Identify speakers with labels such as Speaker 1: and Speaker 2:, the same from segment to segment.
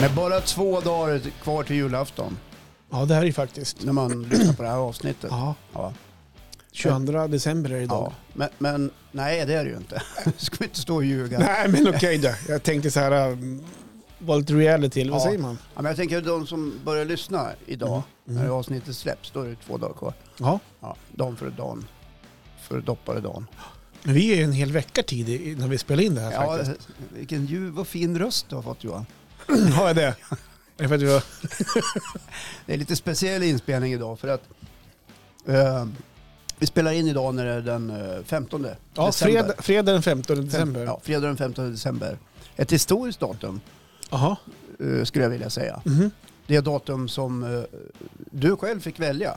Speaker 1: Med bara två dagar kvar till julafton,
Speaker 2: Ja, det här är ju faktiskt.
Speaker 1: när man lyssnar på det här avsnittet.
Speaker 2: Ja,
Speaker 1: Ja.
Speaker 2: 22 december är det idag.
Speaker 1: Ja. Men, men nej, det är det ju inte. Ska vi inte stå och ljuga.
Speaker 2: Nej, men okej då. Jag tänkte så här, um, var lite reality, eller vad
Speaker 1: Ja.
Speaker 2: säger man?
Speaker 1: Ja, men jag tänker de som börjar lyssna idag,
Speaker 2: Mm.
Speaker 1: när det avsnittet släpps, då är det två dagar kvar.
Speaker 2: Ja,
Speaker 1: Ja, dan för dan. För doppare dan.
Speaker 2: men vi är ju en hel vecka tidig när vi spelar in det här
Speaker 1: Ja,
Speaker 2: faktiskt.
Speaker 1: vilken ljuv och fin röst du har fått Johan.
Speaker 2: Har jag det? Är det för att vi har...
Speaker 1: Det är lite speciell inspelning idag för att eh, vi spelar in idag när det är den eh, 15
Speaker 2: Ja,
Speaker 1: december.
Speaker 2: fredag, fredag den 15 december.
Speaker 1: Ja, fredag den 15 december. Ett historiskt datum
Speaker 2: Jaha.
Speaker 1: eh, skulle jag vilja säga.
Speaker 2: Mhm.
Speaker 1: Det är datum som eh, du själv fick välja.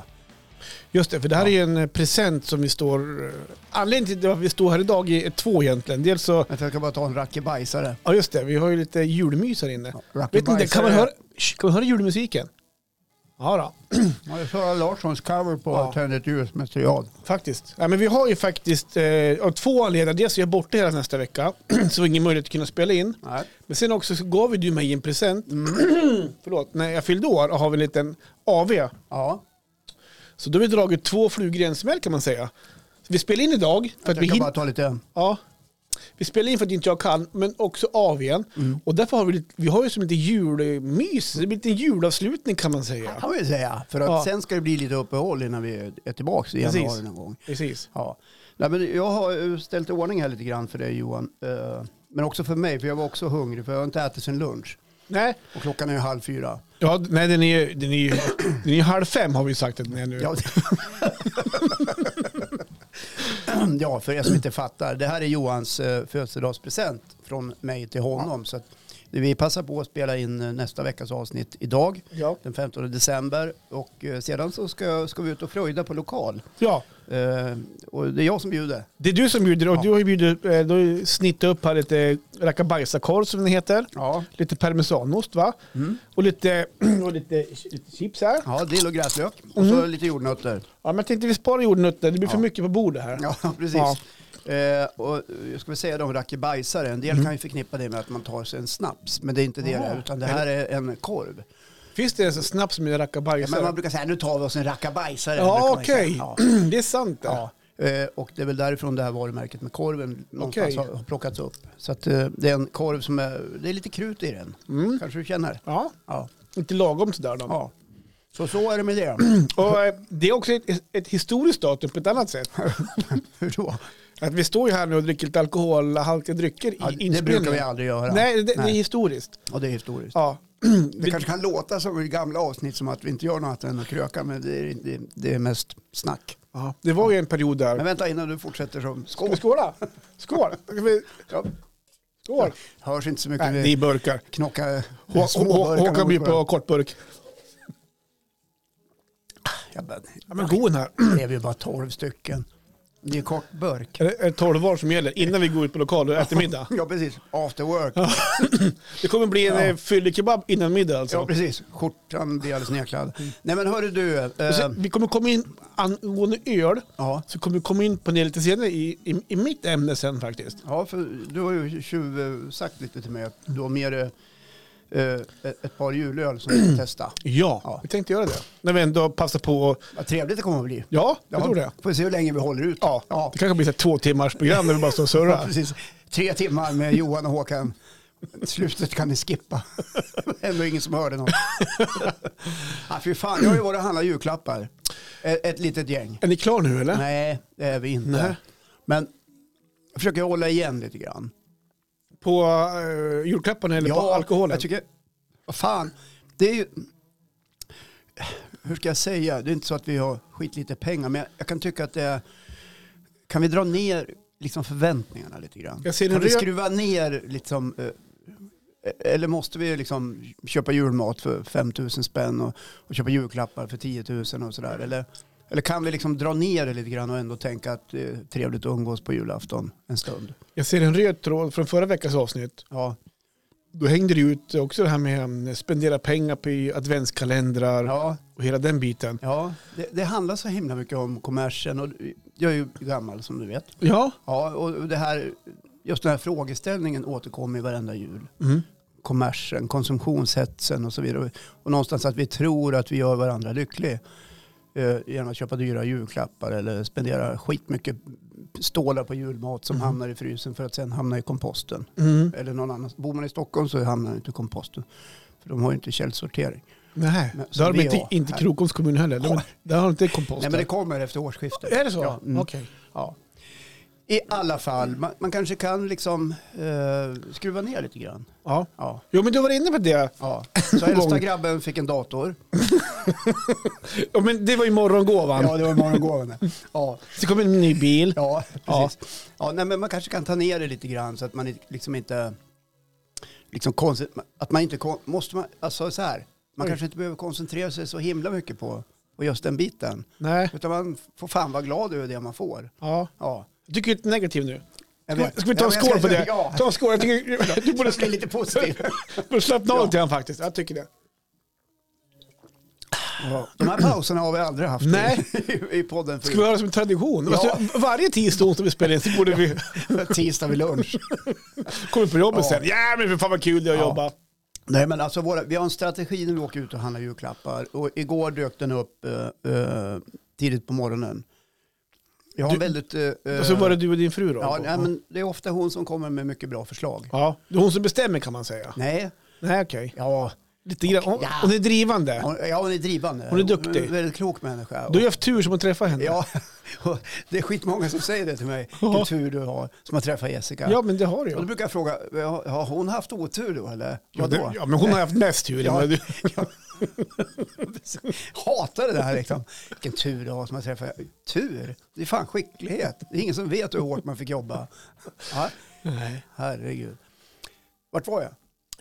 Speaker 2: Just det, för det här
Speaker 1: Ja.
Speaker 2: är ju en eh, present som vi står... eh, Anledningen till att vi står här idag är är två egentligen. Dels så...
Speaker 1: Jag tänker bara ta en rackebajsare.
Speaker 2: Ja just det, vi har ju lite julmys här inne.
Speaker 1: Ja,
Speaker 2: Vet
Speaker 1: rackebajsare.
Speaker 2: inte, kan man höra, Shh, kan man höra julmusiken? Ja då.
Speaker 1: Ja, det är Sara Larssons cover på
Speaker 2: Ja.
Speaker 1: Tänd ett ljus med triad.
Speaker 2: Faktiskt. Ja, men vi har ju faktiskt eh, av två anledningar. Dels är jag borta hela nästa vecka, så ingen möjlighet att kunna spela in.
Speaker 1: Nej.
Speaker 2: Men sen också så gav ju du mig en present,
Speaker 1: Mm.
Speaker 2: förlåt, när jag fyllde år och har vi en liten AV.
Speaker 1: Ja,
Speaker 2: Så då har vi dragit två flugor i en smäll kan man säga. Så vi spelar in idag för att
Speaker 1: jag
Speaker 2: vi
Speaker 1: kan
Speaker 2: hinner...
Speaker 1: bara ta lite.
Speaker 2: Ja. Vi spelar in för att inte jag kan, men också AWn.
Speaker 1: Mm.
Speaker 2: Och därför har vi, lite, vi har ju som lite julmys, det blir lite julavslutning kan man säga.
Speaker 1: kan vi säga. För att
Speaker 2: Ja.
Speaker 1: sen ska det bli lite uppehåll innan vi är tillbaka i
Speaker 2: Precis.
Speaker 1: januari någon gång.
Speaker 2: Precis.
Speaker 1: Ja. Nej, men jag har ju ställt i ordning här lite grann för dig Johan. Eh, Men också för mig, för jag var också hungrig för jag har inte ätit sen lunch.
Speaker 2: Nej,
Speaker 1: Och klockan är ju halv fyra.
Speaker 2: ja, nej den är ju den är, ju- den är ju halv fem har vi ju sagt att den är nu.
Speaker 1: Ja. ja, för er som inte fattar. Det här är Johans eh, födelsedagspresent från mig till honom. Så att vi passar på att spela in eh, nästa veckas avsnitt idag,
Speaker 2: Ja.
Speaker 1: den 15 december. Och eh, sedan så ska, ska vi ut och fröjda på lokal.
Speaker 2: ja,
Speaker 1: Eh, och det är jag som bjuder.
Speaker 2: det är du som bjuder och
Speaker 1: Ja.
Speaker 2: du har ju bjudit, eh, du har ju snittat upp här lite rackabajsakorv som den heter.
Speaker 1: Ja, Mm.
Speaker 2: Lite parmesanost va? Och, lite, och lite, lite chips här.
Speaker 1: ja dill och gräslök och så lite jordnötter.
Speaker 2: Ja, men jag tänkte vi sparar jordnötter, det blir för mycket på bordet här.
Speaker 1: Ja, precis.
Speaker 2: Ja. Mm.
Speaker 1: Eh, och eh, jag ska väl säga de rackebajsare, en del kan ju förknippa det med att man tar sig en snaps, men det är inte det det är,
Speaker 2: Ah.
Speaker 1: utan det här är en korv.
Speaker 2: Finns det ens en snaps med
Speaker 1: Ja, men
Speaker 2: rackabajsare?
Speaker 1: man brukar säga nu tar vi oss en rackabajsare.
Speaker 2: Ja,
Speaker 1: brukar man
Speaker 2: okej.
Speaker 1: ju säga.
Speaker 2: Det är sant. det.
Speaker 1: Ja. Ja. Eh, Och det är väl därifrån det här varumärket med korven någonstans
Speaker 2: Okej.
Speaker 1: har har plockats upp. Så att eh, det är en korv som är, det är lite krut i den.
Speaker 2: Mm.
Speaker 1: Kanske du känner?
Speaker 2: ja.
Speaker 1: Ja.
Speaker 2: Inte lagom sådär då.
Speaker 1: ja. Så så är det med det.
Speaker 2: Och, eh, det är också ett, ett historiskt datum på ett annat sätt.
Speaker 1: Hur då?
Speaker 2: Att vi står ju här nu och dricker lite alkoholhaltiga drycker i
Speaker 1: Ja, det
Speaker 2: inspelningen.
Speaker 1: brukar vi aldrig göra.
Speaker 2: Nej, det, det
Speaker 1: Nej.
Speaker 2: är historiskt.
Speaker 1: Och det är historiskt.
Speaker 2: Ja.
Speaker 1: Det kanske kan låta som i gamla avsnitt som att vi inte gör något annat än att kröka, men det är, det, det är mest snack.
Speaker 2: Ja, det var ju en period
Speaker 1: Men
Speaker 2: där.
Speaker 1: vänta innan du fortsätter som
Speaker 2: Ska vi
Speaker 1: skål.
Speaker 2: skåla? Skål! Då kan vi-
Speaker 1: Ja,
Speaker 2: Skål!
Speaker 1: hörs inte så mycket.
Speaker 2: Nej, det är
Speaker 1: Vi
Speaker 2: burkar.
Speaker 1: knockar
Speaker 2: Hå-
Speaker 1: små
Speaker 2: Hå-
Speaker 1: burkar
Speaker 2: Håkan blir
Speaker 1: mot varandra.
Speaker 2: på kortburk.
Speaker 1: Ja, men,
Speaker 2: Ja, men god den här.
Speaker 1: Det är ju bara tolv stycken. Det är kort burk.
Speaker 2: Är det- Är det 12 var som gäller innan vi går ut på lokal och äter middag?
Speaker 1: Ja, precis. After work.
Speaker 2: Det kommer bli en ja. fyllekebab innan middag alltså.
Speaker 1: Ja, precis. Skjortan blir alldeles nedkladd. Nej, men hörru du.
Speaker 2: Mm. Och
Speaker 1: Eh,
Speaker 2: sen, vi kommer komma in angående öl,
Speaker 1: ja.
Speaker 2: så kommer vi komma in på det lite senare i, i, i mitt ämne sen faktiskt.
Speaker 1: ja, för du har ju tjuv, eh, sagt lite till mig att du har med dig eh, ett ett par julöl som du ska testa.
Speaker 2: Ja,
Speaker 1: Ja.
Speaker 2: vi tänkte göra det. När vi ändå passar på att...
Speaker 1: Vad trevligt det kommer att bli.
Speaker 2: Ja, jag tror det.
Speaker 1: Får vi se hur länge vi håller ut.
Speaker 2: Ja,
Speaker 1: Ja.
Speaker 2: Det kanske blir ett två timmars program där vi bara står och surrar.
Speaker 1: precis. Tre timmar med Johan och Håkan. Slutet kan ni skippa. Ändå ingen som hörde något. ja, fy fan, jag har ju varit och handlat julklappar. Ett, ett litet gäng.
Speaker 2: Är ni klar nu eller?
Speaker 1: Nej, det är vi inte.
Speaker 2: Nej.
Speaker 1: Men jag försöker hålla igen lite grann.
Speaker 2: På uh, julklapparna eller på alkoholen?
Speaker 1: Jag tycker, vad fan, det är ju... Hur ska jag säga? Det är inte så att vi har skitlite pengar, men jag, jag kan tycka att det är... Kan vi dra ner liksom förväntningarna lite grann?
Speaker 2: Jag ser en
Speaker 1: kan vi
Speaker 2: röd-
Speaker 1: skruva ner liksom... eh, Eller måste vi liksom köpa julmat för 5 000 spänn och, och köpa julklappar för 10 000 och sådär? Eller, eller kan vi liksom dra ner det lite grann och ändå tänka att det är trevligt att umgås på julafton en stund?
Speaker 2: jag ser en röd tråd från förra veckans avsnitt.
Speaker 1: Ja,
Speaker 2: Då hängde det ut också det här med mm, spendera pengar på i adventskalendrar
Speaker 1: ja
Speaker 2: och hela den biten.
Speaker 1: Ja, det, det handlar så himla mycket om kommersen och jag är ju gammal som du vet.
Speaker 2: Ja.
Speaker 1: Ja, och det här, just den här frågeställningen återkommer i varenda jul.
Speaker 2: Mm.
Speaker 1: kommersen, konsumtionshetsen och så vidare. Och någonstans att vi tror att vi gör varandra lycklig eh, genom att köpa dyra julklappar eller spendera skitmycket stålar på julmat som
Speaker 2: Mm.
Speaker 1: hamnar i frysen för att sen hamna i komposten.
Speaker 2: Mm.
Speaker 1: Eller någon annan. Bor man i Stockholm så hamnar det inte i komposten. För de har ju inte källsortering.
Speaker 2: Nej,
Speaker 1: Men-
Speaker 2: det har de
Speaker 1: vi
Speaker 2: inte,
Speaker 1: har
Speaker 2: inte
Speaker 1: här.
Speaker 2: Krokoms kommun heller. De, där har de inte
Speaker 1: Nej
Speaker 2: kompost.
Speaker 1: men det
Speaker 2: där.
Speaker 1: kommer efter årsskiftet.
Speaker 2: Är det så?
Speaker 1: Ja, mm.
Speaker 2: Okej.
Speaker 1: Ja. I alla fall, man, man kanske kan liksom eh, skruva ner lite grann.
Speaker 2: Ja.
Speaker 1: Ja.
Speaker 2: Jo, men du var inne på det.
Speaker 1: Ja. Så äldsta grabben fick en dator.
Speaker 2: Ja, men det var ju morgongåvan.
Speaker 1: Ja, det var morgongåvan. Ja,
Speaker 2: Så kom en ny bil.
Speaker 1: ja precis. Ja, nej, men man kanske kan ta ner det lite grann så att man inte- liksom inte... Liksom konstigt, att man inte kon- måste man, alltså så här, man
Speaker 2: Oj.
Speaker 1: kanske inte behöver koncentrera sig så himla mycket på, på just den biten.
Speaker 2: Nej.
Speaker 1: Utan man får fan vara glad över det man får.
Speaker 2: Ja.
Speaker 1: Ja.
Speaker 2: Jag tycker du är negativ nu.
Speaker 1: Jag
Speaker 2: Ska,
Speaker 1: vet.
Speaker 2: ska vi ta en
Speaker 1: Ja, men jag
Speaker 2: skål
Speaker 1: ska-
Speaker 2: på det?
Speaker 1: Ja,
Speaker 2: Ta en skål. Jag tycker, du borde
Speaker 1: det blir lite positivt.
Speaker 2: borde slappna av
Speaker 1: Ja.
Speaker 2: lite grann faktiskt. Jag tycker det.
Speaker 1: Ja. De här pauserna har vi aldrig haft
Speaker 2: Nej.
Speaker 1: I, i podden
Speaker 2: Ska vi
Speaker 1: förut.
Speaker 2: ha det som en tradition?
Speaker 1: Ja.
Speaker 2: Alltså, varje tisdag och onsdag vi spelar in så borde vi
Speaker 1: Tisdag vid lunch.
Speaker 2: komma på jobbet
Speaker 1: Ja.
Speaker 2: sen. Ja, men för fan vad kul det är att
Speaker 1: Ja.
Speaker 2: jobba.
Speaker 1: Nej men alltså våra, vi har en strategi när vi åker ut och handlar julklappar. Och igår dök den upp eh, eh, tidigt på morgonen. Jag har
Speaker 2: Du-
Speaker 1: en väldigt... eh, eh,
Speaker 2: Och så var det du och din fru då?
Speaker 1: ja, nej, men det är ofta hon som kommer med mycket bra förslag.
Speaker 2: ja. Det är hon som bestämmer kan man säga.
Speaker 1: Nej,
Speaker 2: Nej, okej.
Speaker 1: ja,
Speaker 2: Lite grann. Hon,
Speaker 1: Ja.
Speaker 2: hon är drivande.
Speaker 1: hon, ja, hon är drivande.
Speaker 2: Hon är duktig.
Speaker 1: En väldigt klok människa.
Speaker 2: Du har ju haft tur som att träffa henne.
Speaker 1: Ja, och det är skitmånga som säger det till mig.
Speaker 2: Ja.
Speaker 1: Vilken tur du har som har träffat Jessica.
Speaker 2: Ja, men det har du ju.
Speaker 1: Och då brukar jag fråga, har har hon haft otur då eller?
Speaker 2: Ja,
Speaker 1: Vadå?
Speaker 2: det- ja, men hon har haft mest tur.
Speaker 1: Ja.
Speaker 2: Men du-
Speaker 1: Hatar det där liksom. Vilken tur du har som har träffat. Tur? Det är fan skicklighet. Det är ingen som vet hur hårt man fick jobba. Ja,
Speaker 2: Nej.
Speaker 1: herregud. Vart var jag?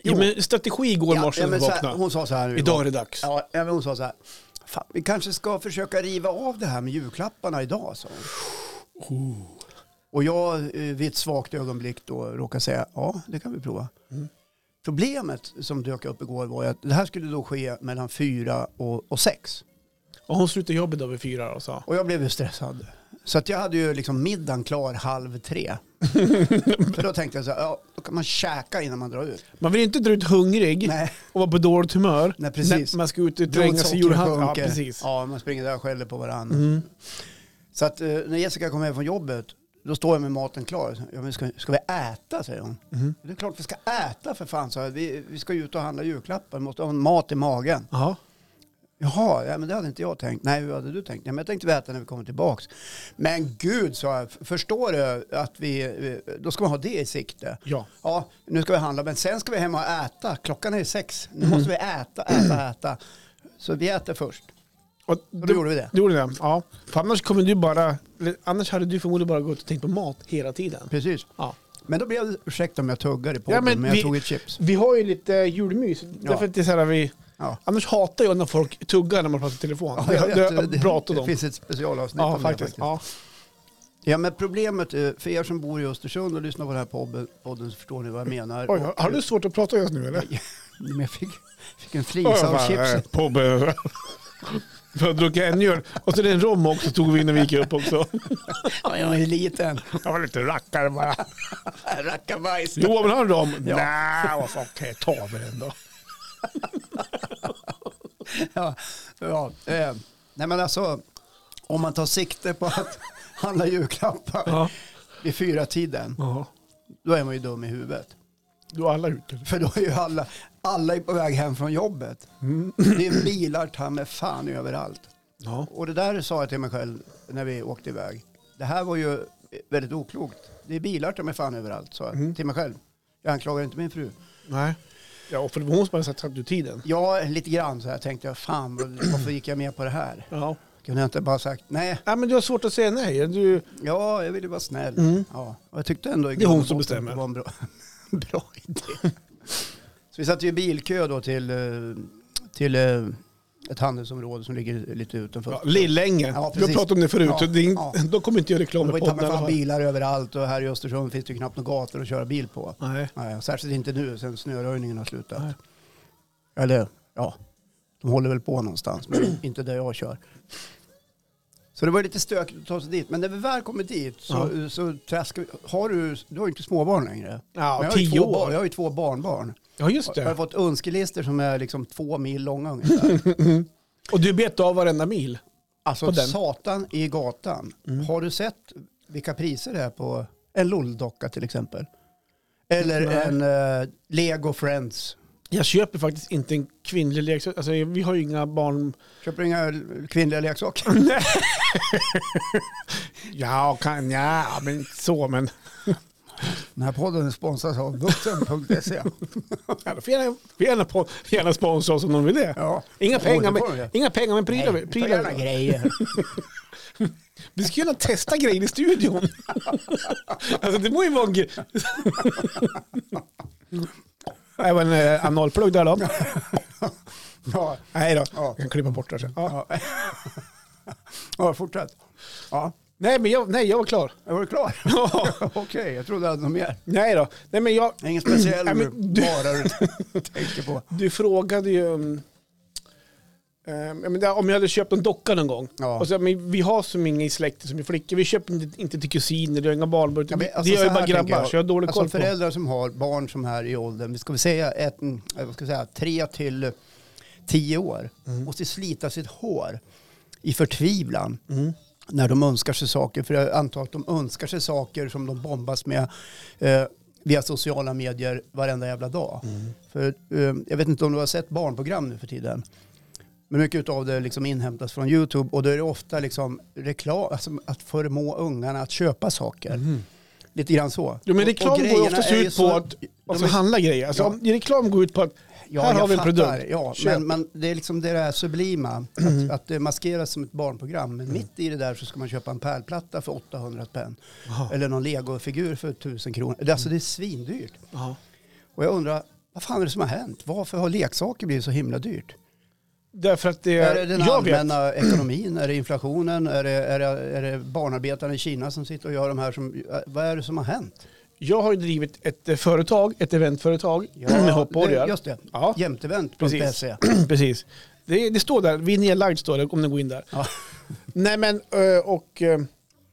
Speaker 2: Ja, men strategi igår
Speaker 1: Ja,
Speaker 2: morse
Speaker 1: ja,
Speaker 2: när
Speaker 1: men
Speaker 2: du
Speaker 1: så här,
Speaker 2: vaknade.
Speaker 1: hon sa så här. nu.
Speaker 2: Idag är det dags.
Speaker 1: Ja, ja, men hon sa så här. Fan, vi kanske ska försöka riva av det här med julklapparna idag, sa hon.
Speaker 2: Oh.
Speaker 1: Och jag eh, vid ett svagt ögonblick då råkade säga ja, det kan vi prova.
Speaker 2: Mm.
Speaker 1: Problemet som dök upp igår var ju att det här skulle då ske mellan fyra och, och sex.
Speaker 2: Och hon slutar jobbet då vid fyra och sa.
Speaker 1: Och jag blev ju stressad. Så att jag hade ju liksom middagen klar halv tre. För då tänkte jag så här, ja, då kan man käka innan man drar ut.
Speaker 2: Man vill inte dra ut hungrig
Speaker 1: Nej,
Speaker 2: och vara på dåligt humör.
Speaker 1: nej precis.
Speaker 2: När man ska ut och tränga sig i
Speaker 1: Blodsockret
Speaker 2: julhandeln. Ja,
Speaker 1: sjunker.
Speaker 2: precis.
Speaker 1: Ja, man springer där och skäller på varandra.
Speaker 2: Mm.
Speaker 1: Så att eh, när Jessica kom hem från jobbet, då står jag med maten klar. Ja, men ska, ska vi äta, säger hon.
Speaker 2: Mhm.
Speaker 1: Det är klart vi ska äta för fan, sa jag. Vi, vi ska ju ut och handla julklappar, vi måste ha mat i magen.
Speaker 2: Ja.
Speaker 1: Jaha, ja, men det hade inte jag tänkt. Nej, hur hade du tänkt? Ja, men jag tänkte vi äta när vi kommer tillbaks. Men gud, sa jag, f- förstår du att vi, eh, då ska man ha det i sikte.
Speaker 2: ja.
Speaker 1: Ja, nu ska vi handla, men sen ska vi hem och äta. Klockan är sex, nu måste vi äta, äta, äta. Så vi äter först.
Speaker 2: Och
Speaker 1: Och
Speaker 2: du,
Speaker 1: då gjorde vi det.
Speaker 2: du gjorde det? Ja. För annars kommer du bara... eller Annars hade du förmodligen bara gått och tänkt på mat hela tiden.
Speaker 1: Precis.
Speaker 2: Ja.
Speaker 1: Men då blev det, ursäkta om jag tuggar i podden,
Speaker 2: Ja, men
Speaker 1: men, jag
Speaker 2: vi-
Speaker 1: tog ett chips.
Speaker 2: Vi har ju lite julmys. Därför att det är så här, vi,
Speaker 1: Ja.
Speaker 2: annars hatar jag när folk tuggar när man pratar i telefon.
Speaker 1: Ja,
Speaker 2: det,
Speaker 1: jag
Speaker 2: det,
Speaker 1: vet,
Speaker 2: det,
Speaker 1: det
Speaker 2: pratar de om.
Speaker 1: finns ett specialavsnitt
Speaker 2: Ja,
Speaker 1: om det
Speaker 2: faktiskt.
Speaker 1: faktiskt.
Speaker 2: Ja.
Speaker 1: Ja, men problemet är, för er som bor i Östersund och lyssnar på den här podden, podden så förstår ni vad jag menar.
Speaker 2: Oj, har- har du svårt att prata just nu eller?
Speaker 1: Men jag fick, fick en flisa av chipset.
Speaker 2: Pobbe. För att dricka en öl. Och så är det en rom också tog vi när vi gick upp också.
Speaker 1: Ja, jag är liten.
Speaker 2: Jag var lite rackare bara.
Speaker 1: Rackabajs.
Speaker 2: Jo, men har en rom?
Speaker 1: Ja.
Speaker 2: Nej, vad fan kan jag ta med den då?
Speaker 1: Ja, ja, eh, nej, men alltså, om man tar sikte på att handla julklappar
Speaker 2: Ja.
Speaker 1: vid fyra tiden
Speaker 2: ja.
Speaker 1: då är man ju dum i huvudet.
Speaker 2: Du är alla ute.
Speaker 1: För då är ju alla, alla är på väg hem från jobbet.
Speaker 2: Mm.
Speaker 1: Det är bilar ta med fan överallt.
Speaker 2: Ja.
Speaker 1: Och det där sa jag till mig själv när vi åkte iväg. Det här var ju väldigt oklokt. Det är bilar ta mig fan överallt, sa jag
Speaker 2: Mm.
Speaker 1: till mig själv. Jag anklagar inte min fru.
Speaker 2: Nej. Ja, och för det var hon som hade satt ut tiden.
Speaker 1: Ja, lite grann så här tänkte jag, fan vad- varför gick jag med på det här?
Speaker 2: Ja.
Speaker 1: Kunde jag inte bara sagt, nej,
Speaker 2: Nej, men du har svårt att säga nej. Du...
Speaker 1: ja, jag ville vara snäll.
Speaker 2: Mm.
Speaker 1: Ja, och jag tyckte ändå i
Speaker 2: Det är hon
Speaker 1: grund och
Speaker 2: som
Speaker 1: botten
Speaker 2: bestämmer.
Speaker 1: Det var en bra, bra idé. Så vi satt ju i bilkö då till, eh, till eh, ett handelsområde som ligger lite utanför.
Speaker 2: Ja,
Speaker 1: Ja,
Speaker 2: Lillängen. vi har
Speaker 1: precis.
Speaker 2: pratat om det förut.
Speaker 1: Ja,
Speaker 2: det är in...
Speaker 1: ja.
Speaker 2: Då kommer inte jag
Speaker 1: Det
Speaker 2: reklam
Speaker 1: var
Speaker 2: i
Speaker 1: ju ta mig
Speaker 2: podden.
Speaker 1: fan
Speaker 2: eller vad?
Speaker 1: bilar överallt och här i Östersund finns det ju knappt några gator att köra bil på.
Speaker 2: Nej.
Speaker 1: Nej, särskilt inte nu sen snöröjningen har slutat.
Speaker 2: Nej.
Speaker 1: Eller ja, de håller väl på någonstans men inte där jag kör. Så det var lite stökigt att ta sig dit. Men när vi väl kommer dit så, så traskar vi. Har du, du har ju inte småbarn längre. Men
Speaker 2: Ja,
Speaker 1: jag, har ju
Speaker 2: tio
Speaker 1: två
Speaker 2: år.
Speaker 1: Barn, jag har ju två barnbarn.
Speaker 2: Ja, just
Speaker 1: Jag har
Speaker 2: det.
Speaker 1: fått önskelistor som är liksom två mil långa ungefär.
Speaker 2: Och du bet av varenda mil. På
Speaker 1: Alltså
Speaker 2: den. Mm.
Speaker 1: satan i gatan. Har du sett vilka priser det är på en lulldocka till exempel? Eller
Speaker 2: Nej.
Speaker 1: en eh, Lego Friends.
Speaker 2: Jag köper faktiskt inte en kvinnlig leksak. Alltså, vi har ju inga barn.
Speaker 1: Köper du inga kvinnliga leksaker?
Speaker 2: Ja, kan ja, men inte så. Men
Speaker 1: Den här podden sponsras av vuxen.se.
Speaker 2: ja, då får gärna, får gärna, på, får gärna sponsra oss om de vill det.
Speaker 1: Ja.
Speaker 2: Inga pengar,
Speaker 1: det får de
Speaker 2: men,
Speaker 1: ju.
Speaker 2: inga pengar, men prylar. vi-
Speaker 1: Nej, ta gärna
Speaker 2: prylar.
Speaker 1: grejer.
Speaker 2: Vi ska gärna testa grejer i studion. alltså, det må ju vara en grej. Det var en eh, analplugg där då.
Speaker 1: Ja,
Speaker 2: Nej då,
Speaker 1: Ja.
Speaker 2: jag kan klippa bort det här sen. Ja.
Speaker 1: ja. ja fortsätt. Ja,
Speaker 2: Nej, men jag, nej, jag var klar.
Speaker 1: jag var klar.
Speaker 2: Ja.
Speaker 1: Okej, jag trodde jag hade något mer.
Speaker 2: nej då, nej, men jag,
Speaker 1: Ingen speciell
Speaker 2: Nej, men du-
Speaker 1: vara du tänker på.
Speaker 2: du frågade ju um, eh, ja, men det- om jag hade köpt en docka någon gång.
Speaker 1: Ja.
Speaker 2: Och så, men vi har som inga i släkten som är flickor. Vi köper inte, inte till kusiner, det är inga barnbarn.
Speaker 1: Ja,
Speaker 2: utan
Speaker 1: men
Speaker 2: det-
Speaker 1: alltså
Speaker 2: det är
Speaker 1: så
Speaker 2: ju
Speaker 1: här
Speaker 2: bara
Speaker 1: tänker
Speaker 2: grabbar, så jag har dålig
Speaker 1: alltså
Speaker 2: koll på.
Speaker 1: föräldrar som har barn som här i åldern, vi ska väl säga, ett, mm, eh, vad ska vi säga tre till tio år,
Speaker 2: Mm.
Speaker 1: måste slita sitt hår i förtvivlan
Speaker 2: Mm.
Speaker 1: när de önskar sig saker. För jag antar att de önskar sig saker som de bombas med eh, via sociala medier varenda jävla dag. För, eh, jag vet inte om du har sett barnprogram nu för tiden. Men mycket av det liksom inhämtas från YouTube och då är det ofta liksom reklam, alltså att förmå ungarna att köpa saker. Lite grann så.
Speaker 2: Jo, men
Speaker 1: Och- och
Speaker 2: reklam går ju
Speaker 1: grejerna
Speaker 2: oftast
Speaker 1: är ju
Speaker 2: ut
Speaker 1: så-
Speaker 2: på att alltså,
Speaker 1: men-
Speaker 2: handla grejer. Alltså,
Speaker 1: Ja.
Speaker 2: om- Reklam går ut på att
Speaker 1: Ja,
Speaker 2: här
Speaker 1: jag
Speaker 2: har vi en
Speaker 1: fattar.
Speaker 2: produkt.
Speaker 1: Ja,
Speaker 2: Köp.
Speaker 1: men, men det är liksom det där sublima, att, att det maskeras som ett barnprogram. Men mitt i det där så ska man köpa en pärlplatta för 800 spänn. Eller någon legofigur för 1000 kronor. Det- Alltså det är svindyrt.
Speaker 2: Ja.
Speaker 1: Och jag undrar, vad fan är det som har hänt? Varför har leksaker blivit så himla dyrt?
Speaker 2: Därför att det
Speaker 1: Är det den
Speaker 2: Eh, jag vet.
Speaker 1: allmänna ekonomin? Är det inflationen? Är det, är, det, är det barnarbetarna i Kina som sitter och gör de här som... eh, Vad är det som har hänt?
Speaker 2: Jag har ju drivit ett eh, företag, ett eventföretag med
Speaker 1: det,
Speaker 2: hoppborgar.
Speaker 1: Just det,
Speaker 2: Ja. Precis.
Speaker 1: jämtevent.se.
Speaker 2: Precis. Det, det står där, vi är nedlagd står det om ni går in där.
Speaker 1: Ja.
Speaker 2: Nej men, eh, och eh,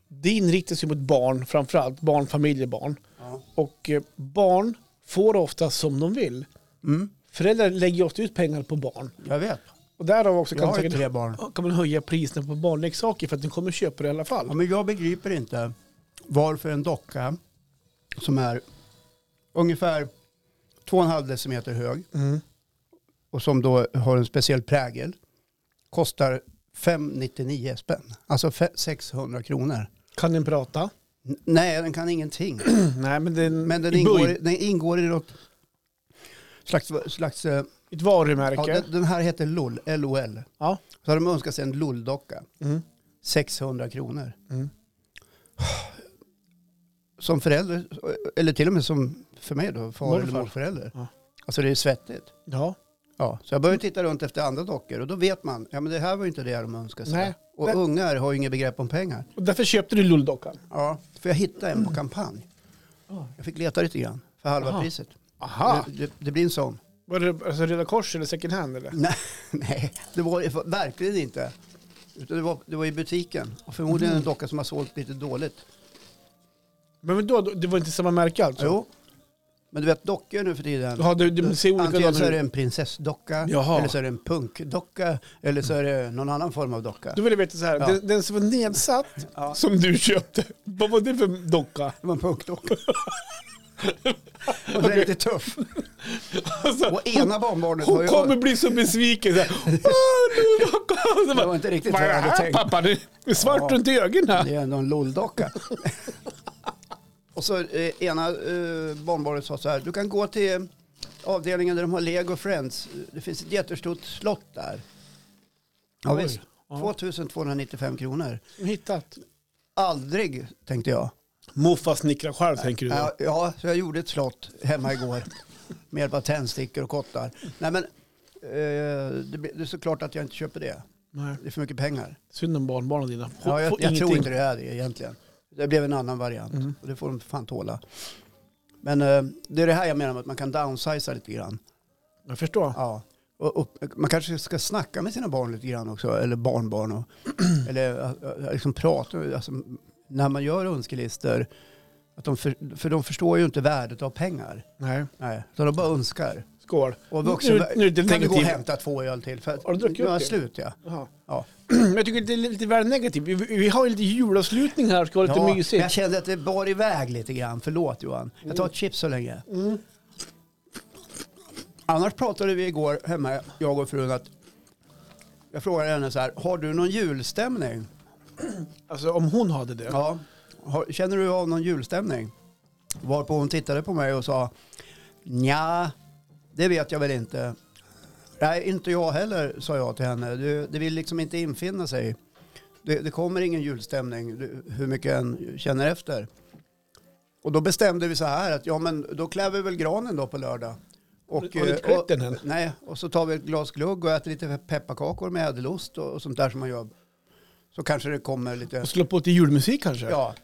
Speaker 2: det inriktas ju mot barn framförallt, barn, familjebarn.
Speaker 1: Ja.
Speaker 2: Och eh, barn får ofta som de vill.
Speaker 1: Mm,
Speaker 2: Föräldrar lägger ju ofta ut pengar på barn.
Speaker 1: jag vet.
Speaker 2: Och därav också
Speaker 1: Jag
Speaker 2: kan,
Speaker 1: har ju
Speaker 2: säkert,
Speaker 1: tre barn.
Speaker 2: kan man höja priserna på barnleksaker för att de kommer köpa det i alla
Speaker 1: Ja,
Speaker 2: fall.
Speaker 1: men jag begriper inte varför en docka som är ungefär 2,5 decimeter hög
Speaker 2: Mm.
Speaker 1: och som då har en speciell prägel kostar 599 spänn. Alltså fe- 600 kronor.
Speaker 2: Kan den prata?
Speaker 1: N- Nej, den kan ingenting.
Speaker 2: Nej men den,
Speaker 1: Men den
Speaker 2: i
Speaker 1: ingår,
Speaker 2: böj,
Speaker 1: i- den ingår i något slags... slags eh,
Speaker 2: ett varumärke.
Speaker 1: ja, den, den här heter LOL. LOL.
Speaker 2: Ja.
Speaker 1: Så har de önskat sig en LOL-docka.
Speaker 2: Mm.
Speaker 1: 600 kronor.
Speaker 2: Mm.
Speaker 1: Som förälder, eller till och med som för mig då, far eller
Speaker 2: Morfar.
Speaker 1: morförälder.
Speaker 2: Ja.
Speaker 1: Alltså det är svettigt.
Speaker 2: ja.
Speaker 1: Ja, så jag började titta runt efter andra dockor och då vet man, ja men det här var ju inte det de önskade sig.
Speaker 2: Nej.
Speaker 1: Och
Speaker 2: Nej.
Speaker 1: ungar har ju inget begrepp om pengar.
Speaker 2: Och därför köpte du lulldockan?
Speaker 1: Ja, för jag hittade
Speaker 2: Mm.
Speaker 1: en på kampanj. Jag fick leta lite grann för halva
Speaker 2: Aha.
Speaker 1: priset.
Speaker 2: Aha.
Speaker 1: Det, det, det blir en sån.
Speaker 2: Var det alltså, Röda Kors eller second hand eller?
Speaker 1: Nej, nej, det var det verkligen inte. Utan det var, det var i butiken och förmodligen
Speaker 2: Mm.
Speaker 1: en docka som har sålt lite dåligt.
Speaker 2: Men då, det var inte samma märke alltså?
Speaker 1: Jo. Men du vet dockor nu för tiden.
Speaker 2: Ja, det, det ser
Speaker 1: Antingen så
Speaker 2: olika
Speaker 1: är det
Speaker 2: ut.
Speaker 1: en prinsessdocka,
Speaker 2: Jaha.
Speaker 1: eller så är det en punkdocka, eller så är det någon annan form av docka.
Speaker 2: Då vill jag veta så här,
Speaker 1: Ja.
Speaker 2: den, den som var nedsatt,
Speaker 1: Ja.
Speaker 2: som du köpte, vad var det för docka?
Speaker 1: Det var en punkdocka. Och den är lite tuff.
Speaker 2: Alltså,
Speaker 1: Och ena barnbarnet har
Speaker 2: hon
Speaker 1: ju...
Speaker 2: kommer bli så besviken. Så här, "Åh, lulldocka!" Och så
Speaker 1: Det
Speaker 2: bara,
Speaker 1: var inte riktigt
Speaker 2: vad är det
Speaker 1: vad jag hade
Speaker 2: här
Speaker 1: tänkt."
Speaker 2: pappa? Det är svart
Speaker 1: Ja.
Speaker 2: runt ögonen.
Speaker 1: Det är ändå en lulldocka. Och så eh, ena eh, barnbarnet sa så här, du kan gå till eh, avdelningen där de har Lego Friends. Det finns ett jättestort slott där. Ja,
Speaker 2: Oj.
Speaker 1: visst. 2295 kronor.
Speaker 2: Hittat.
Speaker 1: Aldrig, tänkte jag.
Speaker 2: Moffa snickrar själv tänker du
Speaker 1: Ja,
Speaker 2: då?
Speaker 1: ja, så jag gjorde ett slott hemma igår med hjälp av tändstickor och kottar. Nej, men eh, det, blir- det är såklart att jag inte köper det.
Speaker 2: Nej.
Speaker 1: Det är för mycket pengar.
Speaker 2: Synd om barnbarnen dina. Får-
Speaker 1: Ja, jag
Speaker 2: får
Speaker 1: jag tror
Speaker 2: ingenting. Mm.
Speaker 1: inte det är det egentligen. Det blev en annan variant och det får de fan tåla. Men eh, det är det här jag menar med att man kan downsiza lite grann.
Speaker 2: Jag förstår.
Speaker 1: Ja. Och, och, man kanske ska snacka med sina barn lite grann också, eller barnbarn. Och, eller eh, eh, liksom prata, alltså, när man gör önskelistor. Att de för, för de förstår ju inte värdet av pengar.
Speaker 2: Nej.
Speaker 1: Nej, så de bara önskar.
Speaker 2: Skål.
Speaker 1: Och vuxen,
Speaker 2: nu, nu är det
Speaker 1: kan du gå och
Speaker 2: negativt.
Speaker 1: hämta två öl till? För att-
Speaker 2: Har du druckit
Speaker 1: nu är
Speaker 2: upp
Speaker 1: jag
Speaker 2: det?
Speaker 1: slut ja.
Speaker 2: Jaha.
Speaker 1: ja.
Speaker 2: Men jag tycker det är lite väl negativt. Vi, vi har ju lite julavslutning här, ska vara lite
Speaker 1: ja men
Speaker 2: mysigt. Mm.
Speaker 1: jag kände att det bar iväg lite grann. Förlåt Johan. Jag tar ett chips så länge. Annars pratade vi igår hemma, jag och frun, att jag frågade henne så här, har du någon julstämning?
Speaker 2: Alltså om hon hade det.
Speaker 1: Ja. Har, känner du av någon julstämning? Varpå hon tittade på mig och sa, nja, det vet jag väl inte. Nej, inte jag heller, sa jag till henne. Du, det vill liksom inte infinna sig. Det, det kommer ingen julstämning, du, hur mycket en känner efter. Och då bestämde vi så här att, ja men då klär vi väl granen då på lördag. Och,
Speaker 2: Har du
Speaker 1: eh,
Speaker 2: klätt
Speaker 1: och-
Speaker 2: den än?
Speaker 1: Nej, och så tar vi ett glas glögg och äter lite pepparkakor med ädelost och, och sånt där som man gör. Så kanske det kommer lite...
Speaker 2: Och slå på lite julmusik kanske.
Speaker 1: Ja.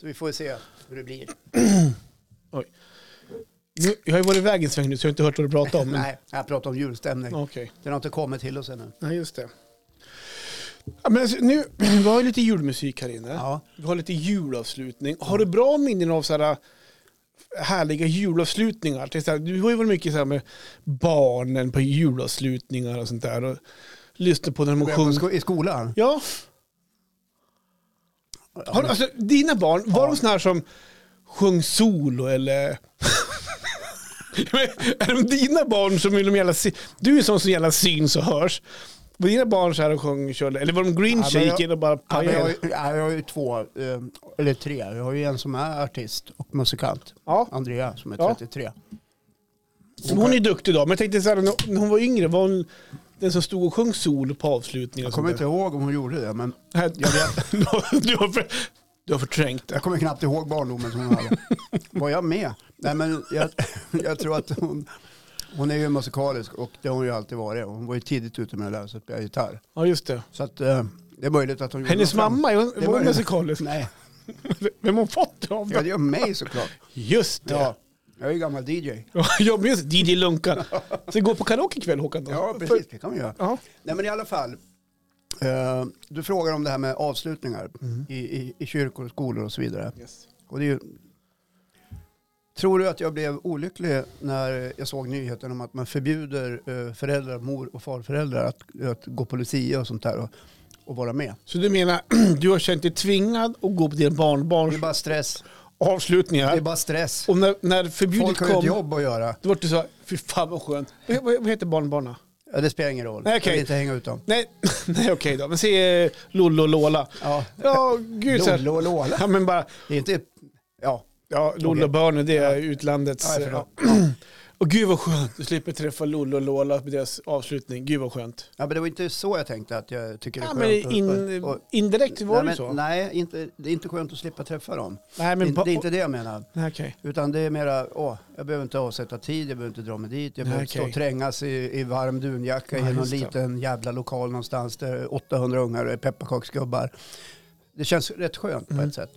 Speaker 1: Så vi får se hur det blir.
Speaker 2: Nu, jag har ju varit iväg en sväng nu så jag har inte hört vad du pratar om. men-
Speaker 1: Nej, jag pratar om julstämning.
Speaker 2: Okej.
Speaker 1: Den har inte kommit till oss ännu.
Speaker 2: Nej, just det. Ja, men alltså, nu, vi har ju lite julmusik här inne.
Speaker 1: Ja.
Speaker 2: Vi har lite julavslutning. Har du bra minnen av så här äh, härliga julavslutningar? Till exempel, Du har ju varit mycket så här med barnen på julavslutningar och sånt där. Och lyssnat på när de
Speaker 1: Börjar på
Speaker 2: sjunger.
Speaker 1: sko- I skolan?
Speaker 2: Ja. Har, du- alltså, dina barn, var de såna här som sjöng solo eller? Men är de dina barn som vill de jävla, sy- du är en sån som jävla syns och hörs. Var dina barn så här och sjöng, körde, eller var de green
Speaker 1: Ja, men jag-
Speaker 2: shaken och bara
Speaker 1: Ja, men jag, har
Speaker 2: pajade?
Speaker 1: ju- ja, jag har ju två, eh, eller tre. Jag har ju en som är artist och musikant.
Speaker 2: Ja,
Speaker 1: Andrea som är
Speaker 2: Ja.
Speaker 1: 33.
Speaker 2: men hon är duktig då, men jag tänkte så här, när när hon var yngre, var hon den som stod och sjöng solo på avslutningen?
Speaker 1: Jag kommer inte ihåg om hon gjorde det, men
Speaker 2: Jag vet. du, har för, du har förträngt det.
Speaker 1: jag kommer knappt ihåg barndomen som hon hade. Var jag med? Nej, men jag, jag tror att hon, hon är ju musikalisk och det har hon ju alltid varit. Hon var ju tidigt ute med att lära sig att spela gitarr.
Speaker 2: Ja, just det.
Speaker 1: Så att, eh, det är möjligt att hon gjorde
Speaker 2: Hennes
Speaker 1: något fram-
Speaker 2: mamma,
Speaker 1: Det
Speaker 2: var
Speaker 1: var
Speaker 2: hon
Speaker 1: det.
Speaker 2: musikalisk?
Speaker 1: Nej,
Speaker 2: Vem har hon fått det av?
Speaker 1: ja, det gör mig såklart.
Speaker 2: Just det.
Speaker 1: Ja,
Speaker 2: Ja.
Speaker 1: jag är ju gammal DJ.
Speaker 2: Jag minns DJ Lunkan. Så gå på karaoke ikväll Håkan då?
Speaker 1: Ja,
Speaker 2: För-
Speaker 1: precis. Det kan man göra.
Speaker 2: Ja.
Speaker 1: Nej, men i alla fall. eh, du frågar om det här med avslutningar
Speaker 2: Mm.
Speaker 1: i, i, i kyrkor och skolor och så vidare. Och det är ju, tror du att jag blev olycklig när jag såg nyheten om att man förbjuder eh, föräldrar, mor och farföräldrar att, att gå på Lucia och sånt där och, och vara med?
Speaker 2: Så du menar, du har känt dig tvingad att gå på din
Speaker 1: Det
Speaker 2: barnbarns
Speaker 1: är bara stress.
Speaker 2: avslutningar.
Speaker 1: Det är bara stress.
Speaker 2: Och när, när förbudet
Speaker 1: Folk har ju ett
Speaker 2: kom,
Speaker 1: jobb att göra.
Speaker 2: då var det så här, fy fan vad skönt. Vad, vad vad heter barnbarna?
Speaker 1: Ja, det spelar ingen roll.
Speaker 2: Nej,
Speaker 1: Jag
Speaker 2: okej.
Speaker 1: vill inte hänga ut dem.
Speaker 2: Nej, nej okej då. Men se eh, Lollo och Lola.
Speaker 1: Ja.
Speaker 2: Ja, gud så här.
Speaker 1: Lollo och Lola.
Speaker 2: Ja, men bara,
Speaker 1: Det är inte... Ja.
Speaker 2: ja, Lollo och Börne, det är utlandets...
Speaker 1: Ja, förlåt.
Speaker 2: Och gud vad skönt, du slipper träffa Lollo och Lola på deras avslutning. Gud vad skönt.
Speaker 1: Ja, men det var inte så jag tänkte att jag tycker det är
Speaker 2: Ja,
Speaker 1: skönt.
Speaker 2: men
Speaker 1: att-
Speaker 2: in,
Speaker 1: och-
Speaker 2: indirekt
Speaker 1: nej,
Speaker 2: var det
Speaker 1: men-
Speaker 2: ju så.
Speaker 1: Nej, inte, det är inte skönt att slippa träffa dem.
Speaker 2: Nej,
Speaker 1: Det är
Speaker 2: men
Speaker 1: inte-
Speaker 2: ba-
Speaker 1: det är inte det jag menar.
Speaker 2: Nej, okej.
Speaker 1: Utan det är mera, åh, jag behöver inte avsätta tid, jag behöver inte dra mig dit, jag
Speaker 2: Nej,
Speaker 1: behöver inte stå
Speaker 2: okej.
Speaker 1: och trängas i, i varm dunjacka
Speaker 2: Nej,
Speaker 1: i någon
Speaker 2: just det.
Speaker 1: liten jävla lokal någonstans där 800 ungar är pepparkaksgubbar. Det känns rätt skönt på
Speaker 2: Mm.
Speaker 1: ett sätt.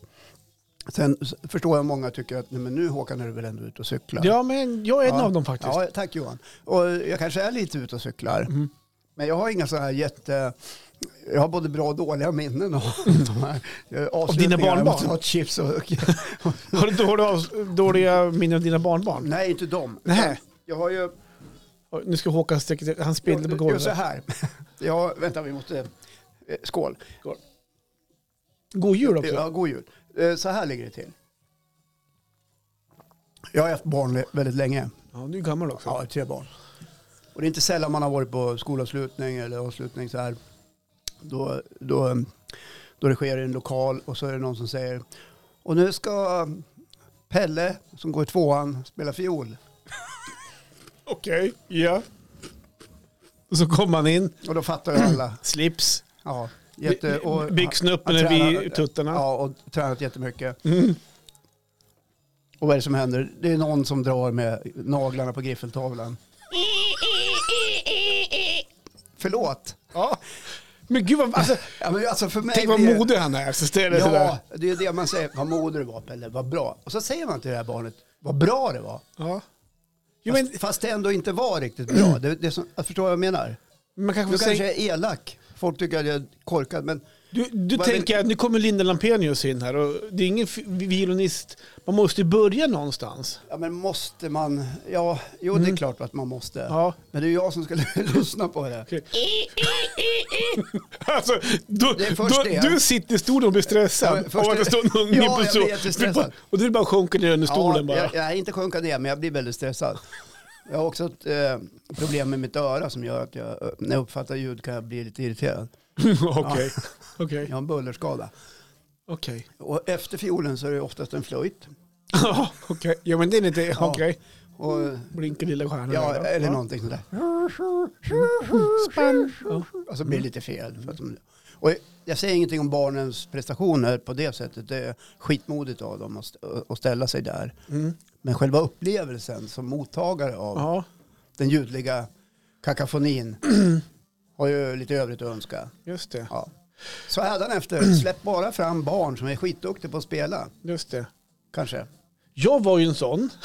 Speaker 1: Sen s- förstår jag många tycker att nej, men nu Håkan är du väl ändå ute och cyklar.
Speaker 2: Ja, men jag är en
Speaker 1: Ja.
Speaker 2: av dem faktiskt.
Speaker 1: Ja, tack Johan. Och jag kanske är lite ute och cyklar.
Speaker 2: Mm.
Speaker 1: Men jag har inga sådana här jätte... Jag har både bra och dåliga minnen av de här eh, avslutningarna. Jag
Speaker 2: barnbarn?
Speaker 1: måste ha ett chips och...
Speaker 2: Har du dåliga, avs- dåliga minnen av dina barnbarn?
Speaker 1: Nej, inte dem.
Speaker 2: Nej.
Speaker 1: Jag har ju...
Speaker 2: Oj, Nu ska Håkan sträcka till, han spillde på
Speaker 1: Gör så
Speaker 2: golvet.
Speaker 1: här. Ja, vänta, vi måste... eh, Skål.
Speaker 2: God jul också.
Speaker 1: Ja, god jul. Eh, Så här ligger det till. Jag har haft barn le- väldigt länge.
Speaker 2: Ja, du är gammal också.
Speaker 1: Ja, jag har tre barn. Och det är inte sällan man har varit på skolavslutning eller avslutning så här. Då, då, då det sker i en lokal och så är det någon som säger och nu ska Pelle som går i tvåan spela fiol.
Speaker 2: Okej, ja. Och så kom han in,
Speaker 1: Och då fattar ju alla.
Speaker 2: slips,
Speaker 1: Ja, jätte, och,
Speaker 2: byggsnuppen
Speaker 1: han tränar-
Speaker 2: vid tuttarna.
Speaker 1: Ja, och tränat jättemycket.
Speaker 2: Mm.
Speaker 1: Och vad är det som händer? Det är någon som drar med naglarna på griffeltavlan. Förlåt.
Speaker 2: Ja. Men gud vad, alltså,
Speaker 1: Ja, men alltså för mig
Speaker 2: tänk vad
Speaker 1: blir det-
Speaker 2: modig han är. Så ställer
Speaker 1: Ja,
Speaker 2: ja. sådär.
Speaker 1: det är det man säger. Vad modig du var Pelle, vad bra. Och så säger man till det här barnet, vad bra det var.
Speaker 2: Ja. Jo, men,
Speaker 1: Fast, fast det ändå inte var riktigt bra. Det, det är som, jag förstår vad jag menar.
Speaker 2: man kanske
Speaker 1: Du
Speaker 2: får säga,
Speaker 1: kanske är elak. Folk tycker att jag är korkad, men
Speaker 2: Du, du
Speaker 1: Vad
Speaker 2: tänker att nu kommer Linda Lampenius in här och det är ingen f- violinist. Man måste ju börja någonstans.
Speaker 1: Ja, men måste man? Ja, jo det är klart att man måste.
Speaker 2: Mm. Ja.
Speaker 1: Men det är jag som ska lyssna på det.
Speaker 2: Alltså, då,
Speaker 1: Det är först
Speaker 2: då,
Speaker 1: det.
Speaker 2: du sitter i stolen och blir
Speaker 1: Ja,
Speaker 2: stressad
Speaker 1: men först
Speaker 2: av att det
Speaker 1: det.
Speaker 2: står en unge
Speaker 1: Ja,
Speaker 2: på
Speaker 1: jag
Speaker 2: så.
Speaker 1: blir jättestressad.
Speaker 2: Och du bara sjunker ner under stolen
Speaker 1: ja,
Speaker 2: bara.
Speaker 1: Jag, jag är inte sjunka ner, men jag blir väldigt stressad. Jag har också ett eh, problem med mitt öra som gör att jag, eh, när jag uppfattar ljud kan jag bli lite irriterad.
Speaker 2: Okej, okej,
Speaker 1: Jag har en bullerskada.
Speaker 2: okej.
Speaker 1: Och efter fiolen så är det oftast en flöjt.
Speaker 2: Ja, Okej, ja men det är lite,
Speaker 1: Ja.
Speaker 2: okej.
Speaker 1: Och,
Speaker 2: Mm. Blinker lilla stjärnan.
Speaker 1: ja,
Speaker 2: där, va?
Speaker 1: eller
Speaker 2: Ja.
Speaker 1: någonting sånt där.
Speaker 2: Mm. Spann. Ja. Mm.
Speaker 1: Och så blir det lite fel. För att de, och jag säger ingenting om barnens prestationer på det sättet. Det är skitmodigt av dem att, st- att ställa sig där.
Speaker 2: Mm.
Speaker 1: Men själva upplevelsen som mottagare av
Speaker 2: ja,
Speaker 1: den ljudliga kakafonin har ju lite övrigt att önska.
Speaker 2: just det.
Speaker 1: Ja. Så hädanefter, släpp bara fram barn som är skitduktiga på att spela.
Speaker 2: Just det.
Speaker 1: Kanske.
Speaker 2: Jag var ju en sån.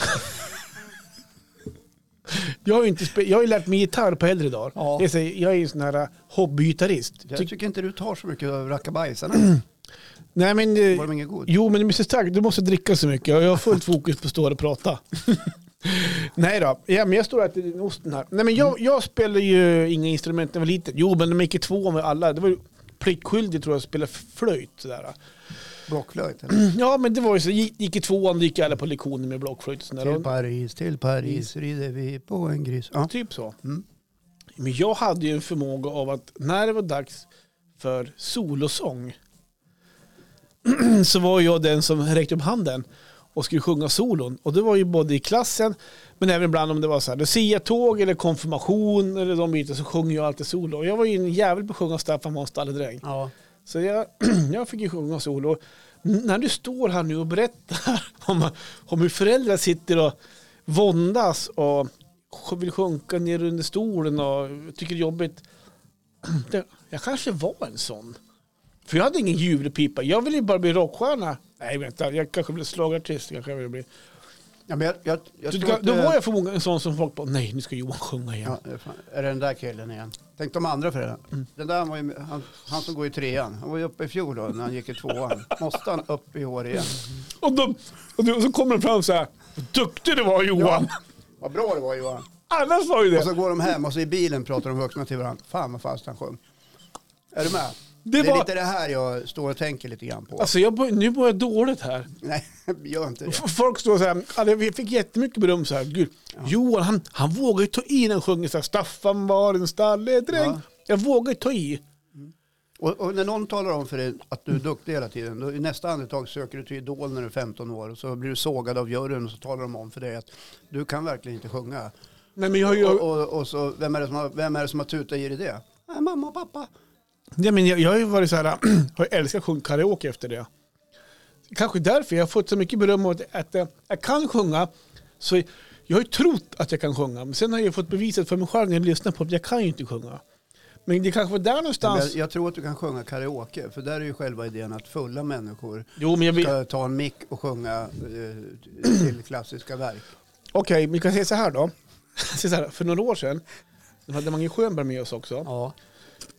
Speaker 2: Jag har ju, inte spe- jag har ju lärt mig gitarr på äldre dagar.
Speaker 1: Ja.
Speaker 2: Jag, säger, jag är ju en sån här hobbygitarrist.
Speaker 1: Jag
Speaker 2: Tyck-
Speaker 1: tycker inte du tar så mycket av rackabajsarna.
Speaker 2: Nej, men,
Speaker 1: Var
Speaker 2: eh,
Speaker 1: de inget god?
Speaker 2: jo, men Mr Stark, du måste dricka så mycket. Jag har fullt fokus på att stå och prata. Nej då, ja, men jag står och äter den osten här. Nej, men
Speaker 1: Mm.
Speaker 2: jag, jag spelade ju inga instrument när jag var liten. Jo, men de gick i två med alla. Det var ju pliktskyldigt tror jag att spela flöjt. Sådär.
Speaker 1: Blockflöjt? eller?
Speaker 2: Ja, men det var ju så. Gick, gick i tvåan, gick alla på lektioner med blockflöjt. och Sådär.
Speaker 1: Till Paris, till Paris rider vi på en gris. Ja.
Speaker 2: Typ så.
Speaker 1: Mm.
Speaker 2: Men jag hade ju en förmåga av att när det var dags för solosång så var jag den som räckte upp handen och skulle sjunga solon. Och det var ju både i klassen men även ibland om det var så här Lucia-tåg eller konfirmation eller de bitarna så sjunger jag alltid solo. Och jag var ju en jävel på att sjunga Staffan Måns Stalledräng.
Speaker 1: Ja.
Speaker 2: Så jag, jag fick ju sjunga solo. N- När du står här nu och berättar om, om hur föräldrar sitter och våndas och sj- vill sjunka ner under stolen och tycker det är jobbigt. Det- Jag kanske var en sån. För jag hade ingen julpipa. Jag ville ju bara bli rockstjärna. Nej, vänta. Jag kanske blev slagartist. Kanske jag ville bli.
Speaker 1: Ja, men jag, jag, jag
Speaker 2: Så
Speaker 1: tror
Speaker 2: då
Speaker 1: att, eh,
Speaker 2: var jag förmodligen en sån som folk bara, nej, nu ska Johan sjunga igen.
Speaker 1: Ja, det är fan- är det den där killen igen? Tänk de andra föräldrarna.
Speaker 2: Mm.
Speaker 1: Den där var ju, han, han som går i trean. Han var ju uppe i fjol då när han gick i tvåan. Måste han upp i år igen?
Speaker 2: Och, de, och, de, och så kommer de fram så här, "Vad duktig du var Johan.
Speaker 1: Vad bra det var Johan.
Speaker 2: Annars var ju det.
Speaker 1: Och så går de hem och så i bilen pratar de vuxna till varandra. Fan vad fast han sjöng. Är du med?
Speaker 2: Det
Speaker 1: Det,
Speaker 2: var-
Speaker 1: är lite det här jag står och tänker lite grann på.
Speaker 2: Alltså jag, bör- nu mår jag dåligt här.
Speaker 1: Nej, gör inte det.
Speaker 2: F- Folk står så här, alltså vi fick jättemycket beröm så här. Gud, Johan han, han vågar ju ta i när han sjunger så här, Staffan var en stalledräng.
Speaker 1: Ja.
Speaker 2: Jag vågar ju ta i.
Speaker 1: Och, och när någon talar om för dig att du är duktig hela tiden, då i nästa andetag söker du till Idol när du är 15 år och så blir du sågad av juryn och så talar de om för dig att du kan verkligen inte sjunga.
Speaker 2: Nej men jag har ju,
Speaker 1: Och, och, och så, vem är det som har, vem är det som har tutat i dig det? Nej, mamma och pappa.
Speaker 2: nej, men jag, jag har ju varit så här, har ju älskat att sjunga karaoke efter det. Kanske därför jag har fått så mycket beröm åt att eh, jag kan sjunga. Så jag har ju trott att jag kan sjunga, men sen har jag ju fått beviset för mig själv när jag lyssnar på att jag kan ju inte sjunga. Men det kanske var där
Speaker 1: Men
Speaker 2: någonstans.
Speaker 1: jag, jag tror att du kan sjunga karaoke, för där är ju själva idén att fulla människor
Speaker 2: jo, men jag vill,
Speaker 1: ska ta en mick och sjunga eh, till klassiska verk.
Speaker 2: Okej, men vi kan säga så här då. Så här, för några år sedan, då hade Mange Schönberg med oss också.
Speaker 1: Ja.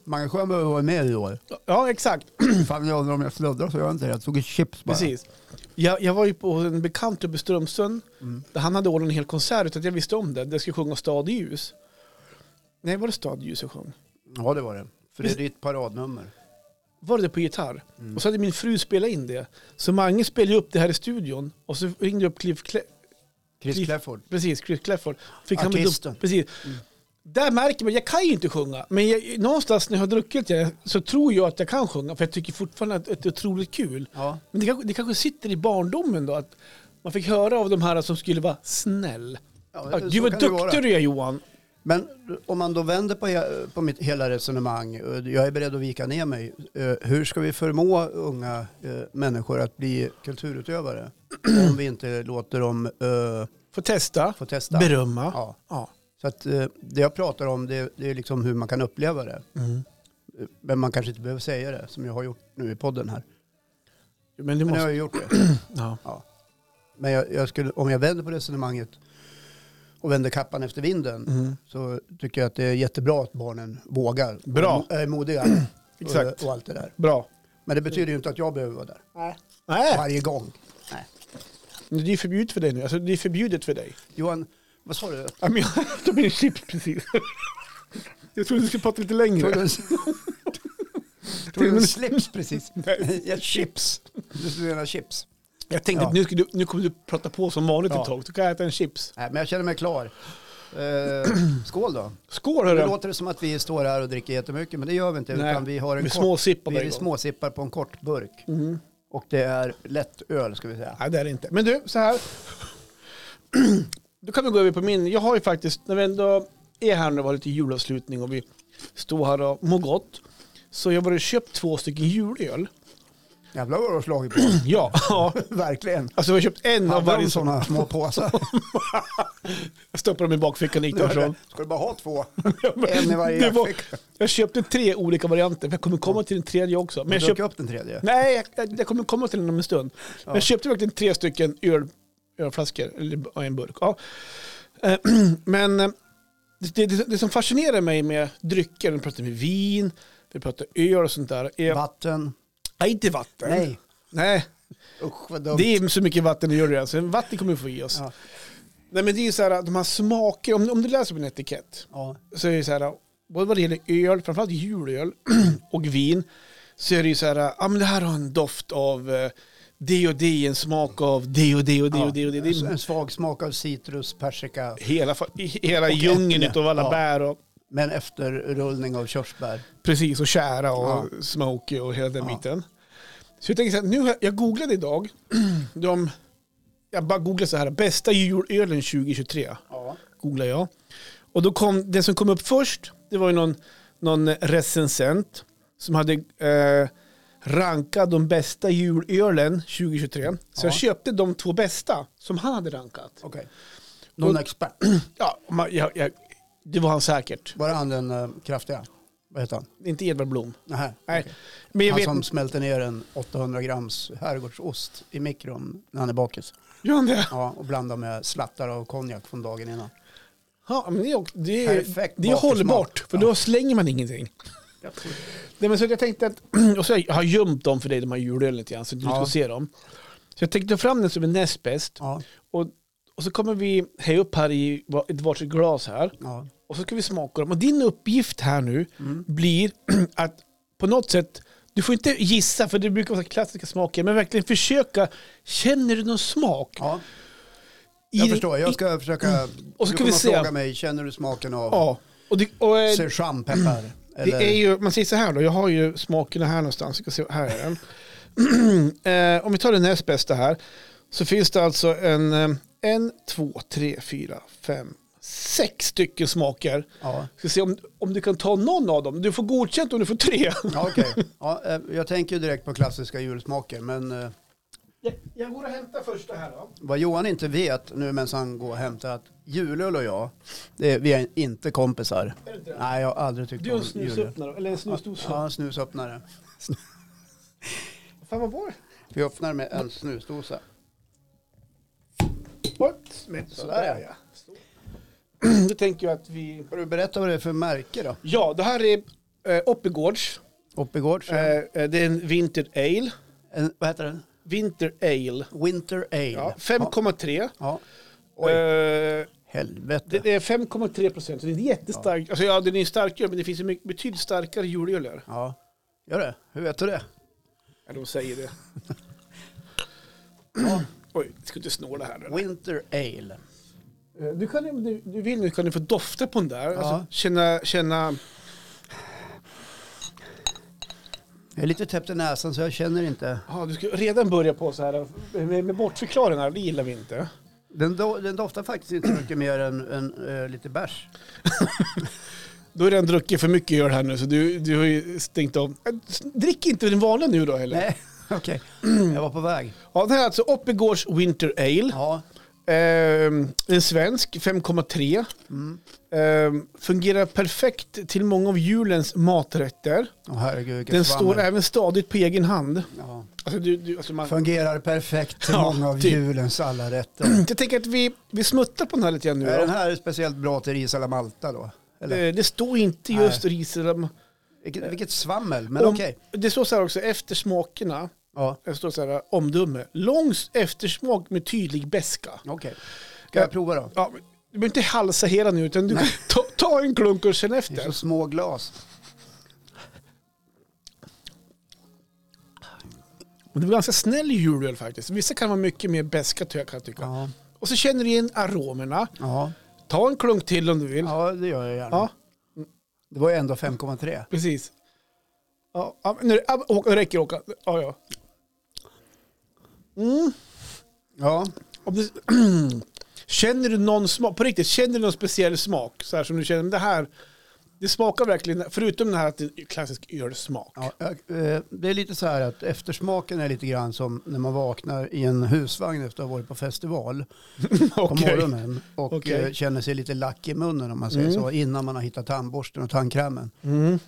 Speaker 1: Mange Sjöberg var med i år.
Speaker 2: Ja, exakt.
Speaker 1: Fan jag undrar om jag sluddrar så gör jag inte det. Jag tog ett chips bara.
Speaker 2: Precis. Jag, jag var ju på en bekant uppe i Strömsund. Där han hade ordnat en hel konsert utan att jag visste om det. Där jag skulle sjunga Stad i ljus. Nej, var det Stad i ljus jag sjöng?
Speaker 1: Ja det var det. För det är ditt paradnummer.
Speaker 2: Var det på gitarr? Och så hade min fru spelat in det. Så Mange spelade ju upp det här i studion. Och så ringde jag upp Cliff Cla-
Speaker 1: Chris
Speaker 2: Cliff-
Speaker 1: Clafford.
Speaker 2: Precis, Chris Clafford. Fick han med
Speaker 1: Artisten. Mm.
Speaker 2: dubb- precis. Där märker man, jag kan ju inte sjunga, men jag, någonstans när jag har druckit det så tror jag att jag kan sjunga, för jag tycker fortfarande att det är otroligt kul.
Speaker 1: Ja.
Speaker 2: Men det kanske, det kanske sitter i barndomen då, att man fick höra av de här som skulle vara snäll.
Speaker 1: Ja,
Speaker 2: Ja,
Speaker 1: så
Speaker 2: Gud vad
Speaker 1: kan det vara.
Speaker 2: duktig du är Johan.
Speaker 1: Men om man då vänder på, he- på mitt hela resonemang, eh, jag är beredd att vika ner mig. Eh, Hur ska vi förmå unga eh, människor att bli kulturutövare om vi inte låter dem eh,
Speaker 2: Får testa,
Speaker 1: få testa?
Speaker 2: berömma.
Speaker 1: Ja.
Speaker 2: Ja.
Speaker 1: Så att, eh, det jag pratar om det, det är liksom hur man kan uppleva det.
Speaker 2: Mm.
Speaker 1: Eh, Men man kanske inte behöver säga det som jag har gjort nu i podden här.
Speaker 2: Men du
Speaker 1: Men jag
Speaker 2: måste...
Speaker 1: har ju gjort det.
Speaker 2: Ja.
Speaker 1: Ja. Men jag, jag skulle, om jag vänder på resonemanget och vänder kappan efter vinden
Speaker 2: Mm.
Speaker 1: så tycker jag att det är jättebra att barnen vågar.
Speaker 2: Bra.
Speaker 1: Är modiga.
Speaker 2: Exakt.
Speaker 1: Och, och allt det där.
Speaker 2: Bra.
Speaker 1: Men det betyder ju inte att jag behöver vara där
Speaker 2: Nej. Nej.
Speaker 1: varje gång. Nej.
Speaker 2: Det är ju förbjudet för dig nu. Alltså, det är förbjudet för dig.
Speaker 1: Johan, vad sa du?
Speaker 2: Ja, men jag tog min chips precis. Jag trodde du skulle prata lite längre.
Speaker 1: Tog du en, tog du en slips precis? Ja, chips. Du menar chips?
Speaker 2: Jag tänkte
Speaker 1: Ja.
Speaker 2: att nu, ska du, nu kommer du prata på som vanligt
Speaker 1: Ja.
Speaker 2: ett tag. Då kan jag äta en chips.
Speaker 1: Nej, men jag känner mig klar. Eh, skål då.
Speaker 2: Skål
Speaker 1: Nu
Speaker 2: hörru!
Speaker 1: låter det som att vi står här och dricker jättemycket, men det gör vi inte.
Speaker 2: Nej,
Speaker 1: utan vi har en
Speaker 2: vi
Speaker 1: kort,
Speaker 2: småsippar varje
Speaker 1: vi
Speaker 2: gång.
Speaker 1: småsippar på en kort burk.
Speaker 2: Mm.
Speaker 1: Och det är lätt öl ska vi säga.
Speaker 2: Nej det är det inte. Men du, så här. Då kan vi gå över på min. Jag har ju faktiskt, när vi ändå är här nu och har lite julavslutning och vi står här och mår gott. Så jag har varit och köpt två stycken julöl.
Speaker 1: Jävlar vad du har slagit på.
Speaker 2: Ja, ja.
Speaker 1: Verkligen.
Speaker 2: Alltså jag har köpt en av
Speaker 1: Hade de
Speaker 2: varje sån.
Speaker 1: sådana små påsar?
Speaker 2: Jag stoppade dem i bakfickan och gick därifrån.
Speaker 1: Ska du bara ha två?
Speaker 2: Ja, men
Speaker 1: En i varje
Speaker 2: det var-
Speaker 1: jackficka.
Speaker 2: Jag köpte tre olika varianter, för jag kommer komma till den tredje också. Men
Speaker 1: Men
Speaker 2: jag
Speaker 1: jag
Speaker 2: köpte,
Speaker 1: upp den tredje.
Speaker 2: nej, jag- jag, jag kommer komma till den om en stund. Men jag köpte verkligen tre stycken öl, ölflaskor, eller ja, en burk. Ja. Eh, Men eh, det, det, det som fascinerar mig med drycker, vi pratar med vin, vi pratar öl och sånt där, är...
Speaker 1: Vatten.
Speaker 2: Nej, inte vatten.
Speaker 1: Nej.
Speaker 2: Nej,
Speaker 1: Usch vad dumt.
Speaker 2: det är så mycket vatten i öl redan, så vatten kommer vi få i oss.
Speaker 1: Ja.
Speaker 2: Nej, men det är ju så här, de här smaker, om, om du läser på en etikett,
Speaker 1: Ja.
Speaker 2: så är det så här, både vad det gäller öl, framförallt julöl och vin, så är det ju så här, ja men det här har en doft av eh, det och det, en smak av det och det och det och det och det. det
Speaker 1: En-
Speaker 2: är liksom
Speaker 1: En svag smak av citrus, persika,
Speaker 2: hela, fa- i- hela
Speaker 1: alltså- Och
Speaker 2: djungeln
Speaker 1: äpple.
Speaker 2: utav alla
Speaker 1: Ja.
Speaker 2: bär och
Speaker 1: med en efterrullning av körsbär.
Speaker 2: precis och kära och smoky och hela den
Speaker 1: Ja.
Speaker 2: biten. Så jag tänker så här, nu har, jag googlade idag, de, jag bara googlade så här, bästa julölen 2023.
Speaker 1: Ja.
Speaker 2: googlade jag. Och då kom, det som kom upp först, det var ju någon, någon recensent som hade eh, rankat de bästa julölen 2023. Så
Speaker 1: Ja.
Speaker 2: jag köpte de två bästa som han hade rankat.
Speaker 1: Okej. Någon
Speaker 2: Och-
Speaker 1: expert.
Speaker 2: Ja, man, jag, jag, det var han säkert.
Speaker 1: Var han den eh, kraftiga? Vad heter han?
Speaker 2: Inte Edvard Blom.
Speaker 1: Nähä.
Speaker 2: Nej.
Speaker 1: okej.
Speaker 2: Men jag
Speaker 1: Han
Speaker 2: vet,
Speaker 1: som smälter ner en 800 grams herrgårdsost i mikron när han är bakis.
Speaker 2: gör han det?
Speaker 1: Ja, och blandar med slattar av konjak från dagen innan.
Speaker 2: Ja, men det är, också- det är,
Speaker 1: Perfekt
Speaker 2: det är
Speaker 1: bakelsmak.
Speaker 2: hållbart, för då slänger man ingenting. Nej, men så jag tänkte att, och så har jag gömt dem för dig, de här julölen lite grann, så att du
Speaker 1: Ja.
Speaker 2: ska se dem. Så jag tänkte ta fram den som är näst bäst.
Speaker 1: Ja,
Speaker 2: Och, och så kommer vi heja upp här i va- ett varsitt glas här.
Speaker 1: ja.
Speaker 2: Och så ska vi smaka dem. Och din uppgift här nu
Speaker 1: Mm.
Speaker 2: blir att på något sätt, du får inte gissa för det brukar vara så här klassiska smaker, men verkligen försöka, känner du någon smak?
Speaker 1: ja.
Speaker 2: I
Speaker 1: Jag
Speaker 2: det-
Speaker 1: förstår, jag
Speaker 2: i- Mm.
Speaker 1: ska försöka...
Speaker 2: Och så
Speaker 1: du
Speaker 2: kan
Speaker 1: kommer
Speaker 2: vi se-
Speaker 1: fråga mig, känner du smaken av ja.
Speaker 2: Ja. Och det, och, eh,
Speaker 1: sergeantpeppar?
Speaker 2: det
Speaker 1: Eller
Speaker 2: är ju, man säger så här då, jag har ju smakerna här någonstans. Jag ska se, här är den. eh, om vi tar den näst bästa här, så finns det alltså en, eh, en, två, tre, fyra, fem, sex stycken smaker.
Speaker 1: Ja,
Speaker 2: Ska se om, om du kan ta någon av dem. Du får godkänt om du får tre.
Speaker 1: ja okej. Ja, eh, jag tänker ju direkt på klassiska julsmaker, men eh,
Speaker 2: Jag, jag går och hämtar första här då.
Speaker 1: vad Johan inte vet nu medan han går och hämtar att julöl och jag, det är, vi är inte kompisar.
Speaker 2: Är det inte det?
Speaker 1: Nej, jag har aldrig tyckt
Speaker 2: Du är
Speaker 1: om
Speaker 2: en
Speaker 1: julöl.
Speaker 2: snusöppnare, eller en snusdosa.
Speaker 1: Ja, en snusöppnare.
Speaker 2: Fan vad var det?
Speaker 1: Vi öppnar med en snusdosa.
Speaker 2: Oj, smäll.
Speaker 1: Sådär,
Speaker 2: ja. Då tänker jag att vi...
Speaker 1: Kan du berätta vad det är för märke då?
Speaker 2: Ja, det här är eh, Oppigårds.
Speaker 1: Oppigårds?
Speaker 2: Eh, eh, det är en Winter Ale.
Speaker 1: En, vad heter den?
Speaker 2: Winter Ale.
Speaker 1: Winter Ale.
Speaker 2: Ja,
Speaker 1: Ja,
Speaker 2: 5,3.
Speaker 1: ja. Oj,
Speaker 2: Eh,
Speaker 1: helvete.
Speaker 2: det det är 5,3 procent, så det är jättestarkt. Alltså ja, den är ju starkare, men det finns ju mycket, betydligt starkare julöler.
Speaker 1: Ja, gör det. Hur vet du det?
Speaker 2: Ja, de säger det. Oj, jag ska inte snåla här. nu.
Speaker 1: Winter Ale.
Speaker 2: Eh, Du kan, om du, du vill nu kan du få dofta på den där.
Speaker 1: Ja.
Speaker 2: Alltså, känna, känna...
Speaker 1: Jag är lite täppt i näsan så jag känner inte.
Speaker 2: Ja, du ska redan börja på så här eh, med, med bortförklaringar, det gillar vi inte.
Speaker 1: Den, do, den doftar faktiskt inte mycket mer än, än eh, lite bärs.
Speaker 2: Du har redan druckit för mycket öl här nu så du, du har ju stängt av. Eh, s- Drick inte den vanliga nu då heller.
Speaker 1: Nej, okej. Jag var på väg.
Speaker 2: Ja, det här är alltså Oppigårds Winter Ale.
Speaker 1: Ja,
Speaker 2: Ehm, en svensk, 5,3. Ehm, fungerar perfekt till många av julens maträtter.
Speaker 1: Åh herregud vilket
Speaker 2: Den
Speaker 1: svammel.
Speaker 2: står även stadigt på egen hand.
Speaker 1: ja.
Speaker 2: Alltså, du, du, alltså man,
Speaker 1: Fungerar perfekt till
Speaker 2: Ja,
Speaker 1: många av
Speaker 2: typ.
Speaker 1: julens alla rätter.
Speaker 2: jag tänker att vi, vi smuttar på den här lite grann nu.
Speaker 1: Är
Speaker 2: då.
Speaker 1: den här speciellt bra till ris alla Malta då? Eller?
Speaker 2: Eh, Det står inte
Speaker 1: Nej.
Speaker 2: just ris eller...
Speaker 1: Vilket, vilket svammel, men
Speaker 2: Om-
Speaker 1: okej.
Speaker 2: Det står så här också, efter smakerna,
Speaker 1: Ja,
Speaker 2: det står så här, omdöme, lång eftersmak med tydlig beska.
Speaker 1: okej. Ska jag prova då?
Speaker 2: Ja, men du behöver inte halsa hela nu, utan du kan ta, ta en klunk och känna
Speaker 1: Det är
Speaker 2: efter.
Speaker 1: så små glas.
Speaker 2: Och det var ganska snäll julöl faktiskt. Vissa kan vara mycket mer beska kan jag tycka.
Speaker 1: Ja,
Speaker 2: Och så känner du igen aromerna.
Speaker 1: ja.
Speaker 2: Ta en klunk till om du vill.
Speaker 1: ja det gör jag gärna.
Speaker 2: Ja.
Speaker 1: Det var ju ändå 5,3.
Speaker 2: Precis. Ja, ja, nu, ja, åka, nu räcker det åka. Ja, ja. Mm.
Speaker 1: Ja,
Speaker 2: Om du, känner du någon smak, på riktigt, känner du någon speciell smak? Så här som du känner, men det här, det smakar verkligen, förutom det här att det är klassisk ölsmak.
Speaker 1: ja jag, eh, det är lite så här att eftersmaken är lite grann som när man vaknar i en husvagn efter att ha varit på festival på
Speaker 2: Okej.
Speaker 1: morgonen och
Speaker 2: Okej.
Speaker 1: eh, känner sig lite lack i munnen om man säger
Speaker 2: Mm.
Speaker 1: så innan man har hittat tandborsten och tandkrämen.
Speaker 2: Mm.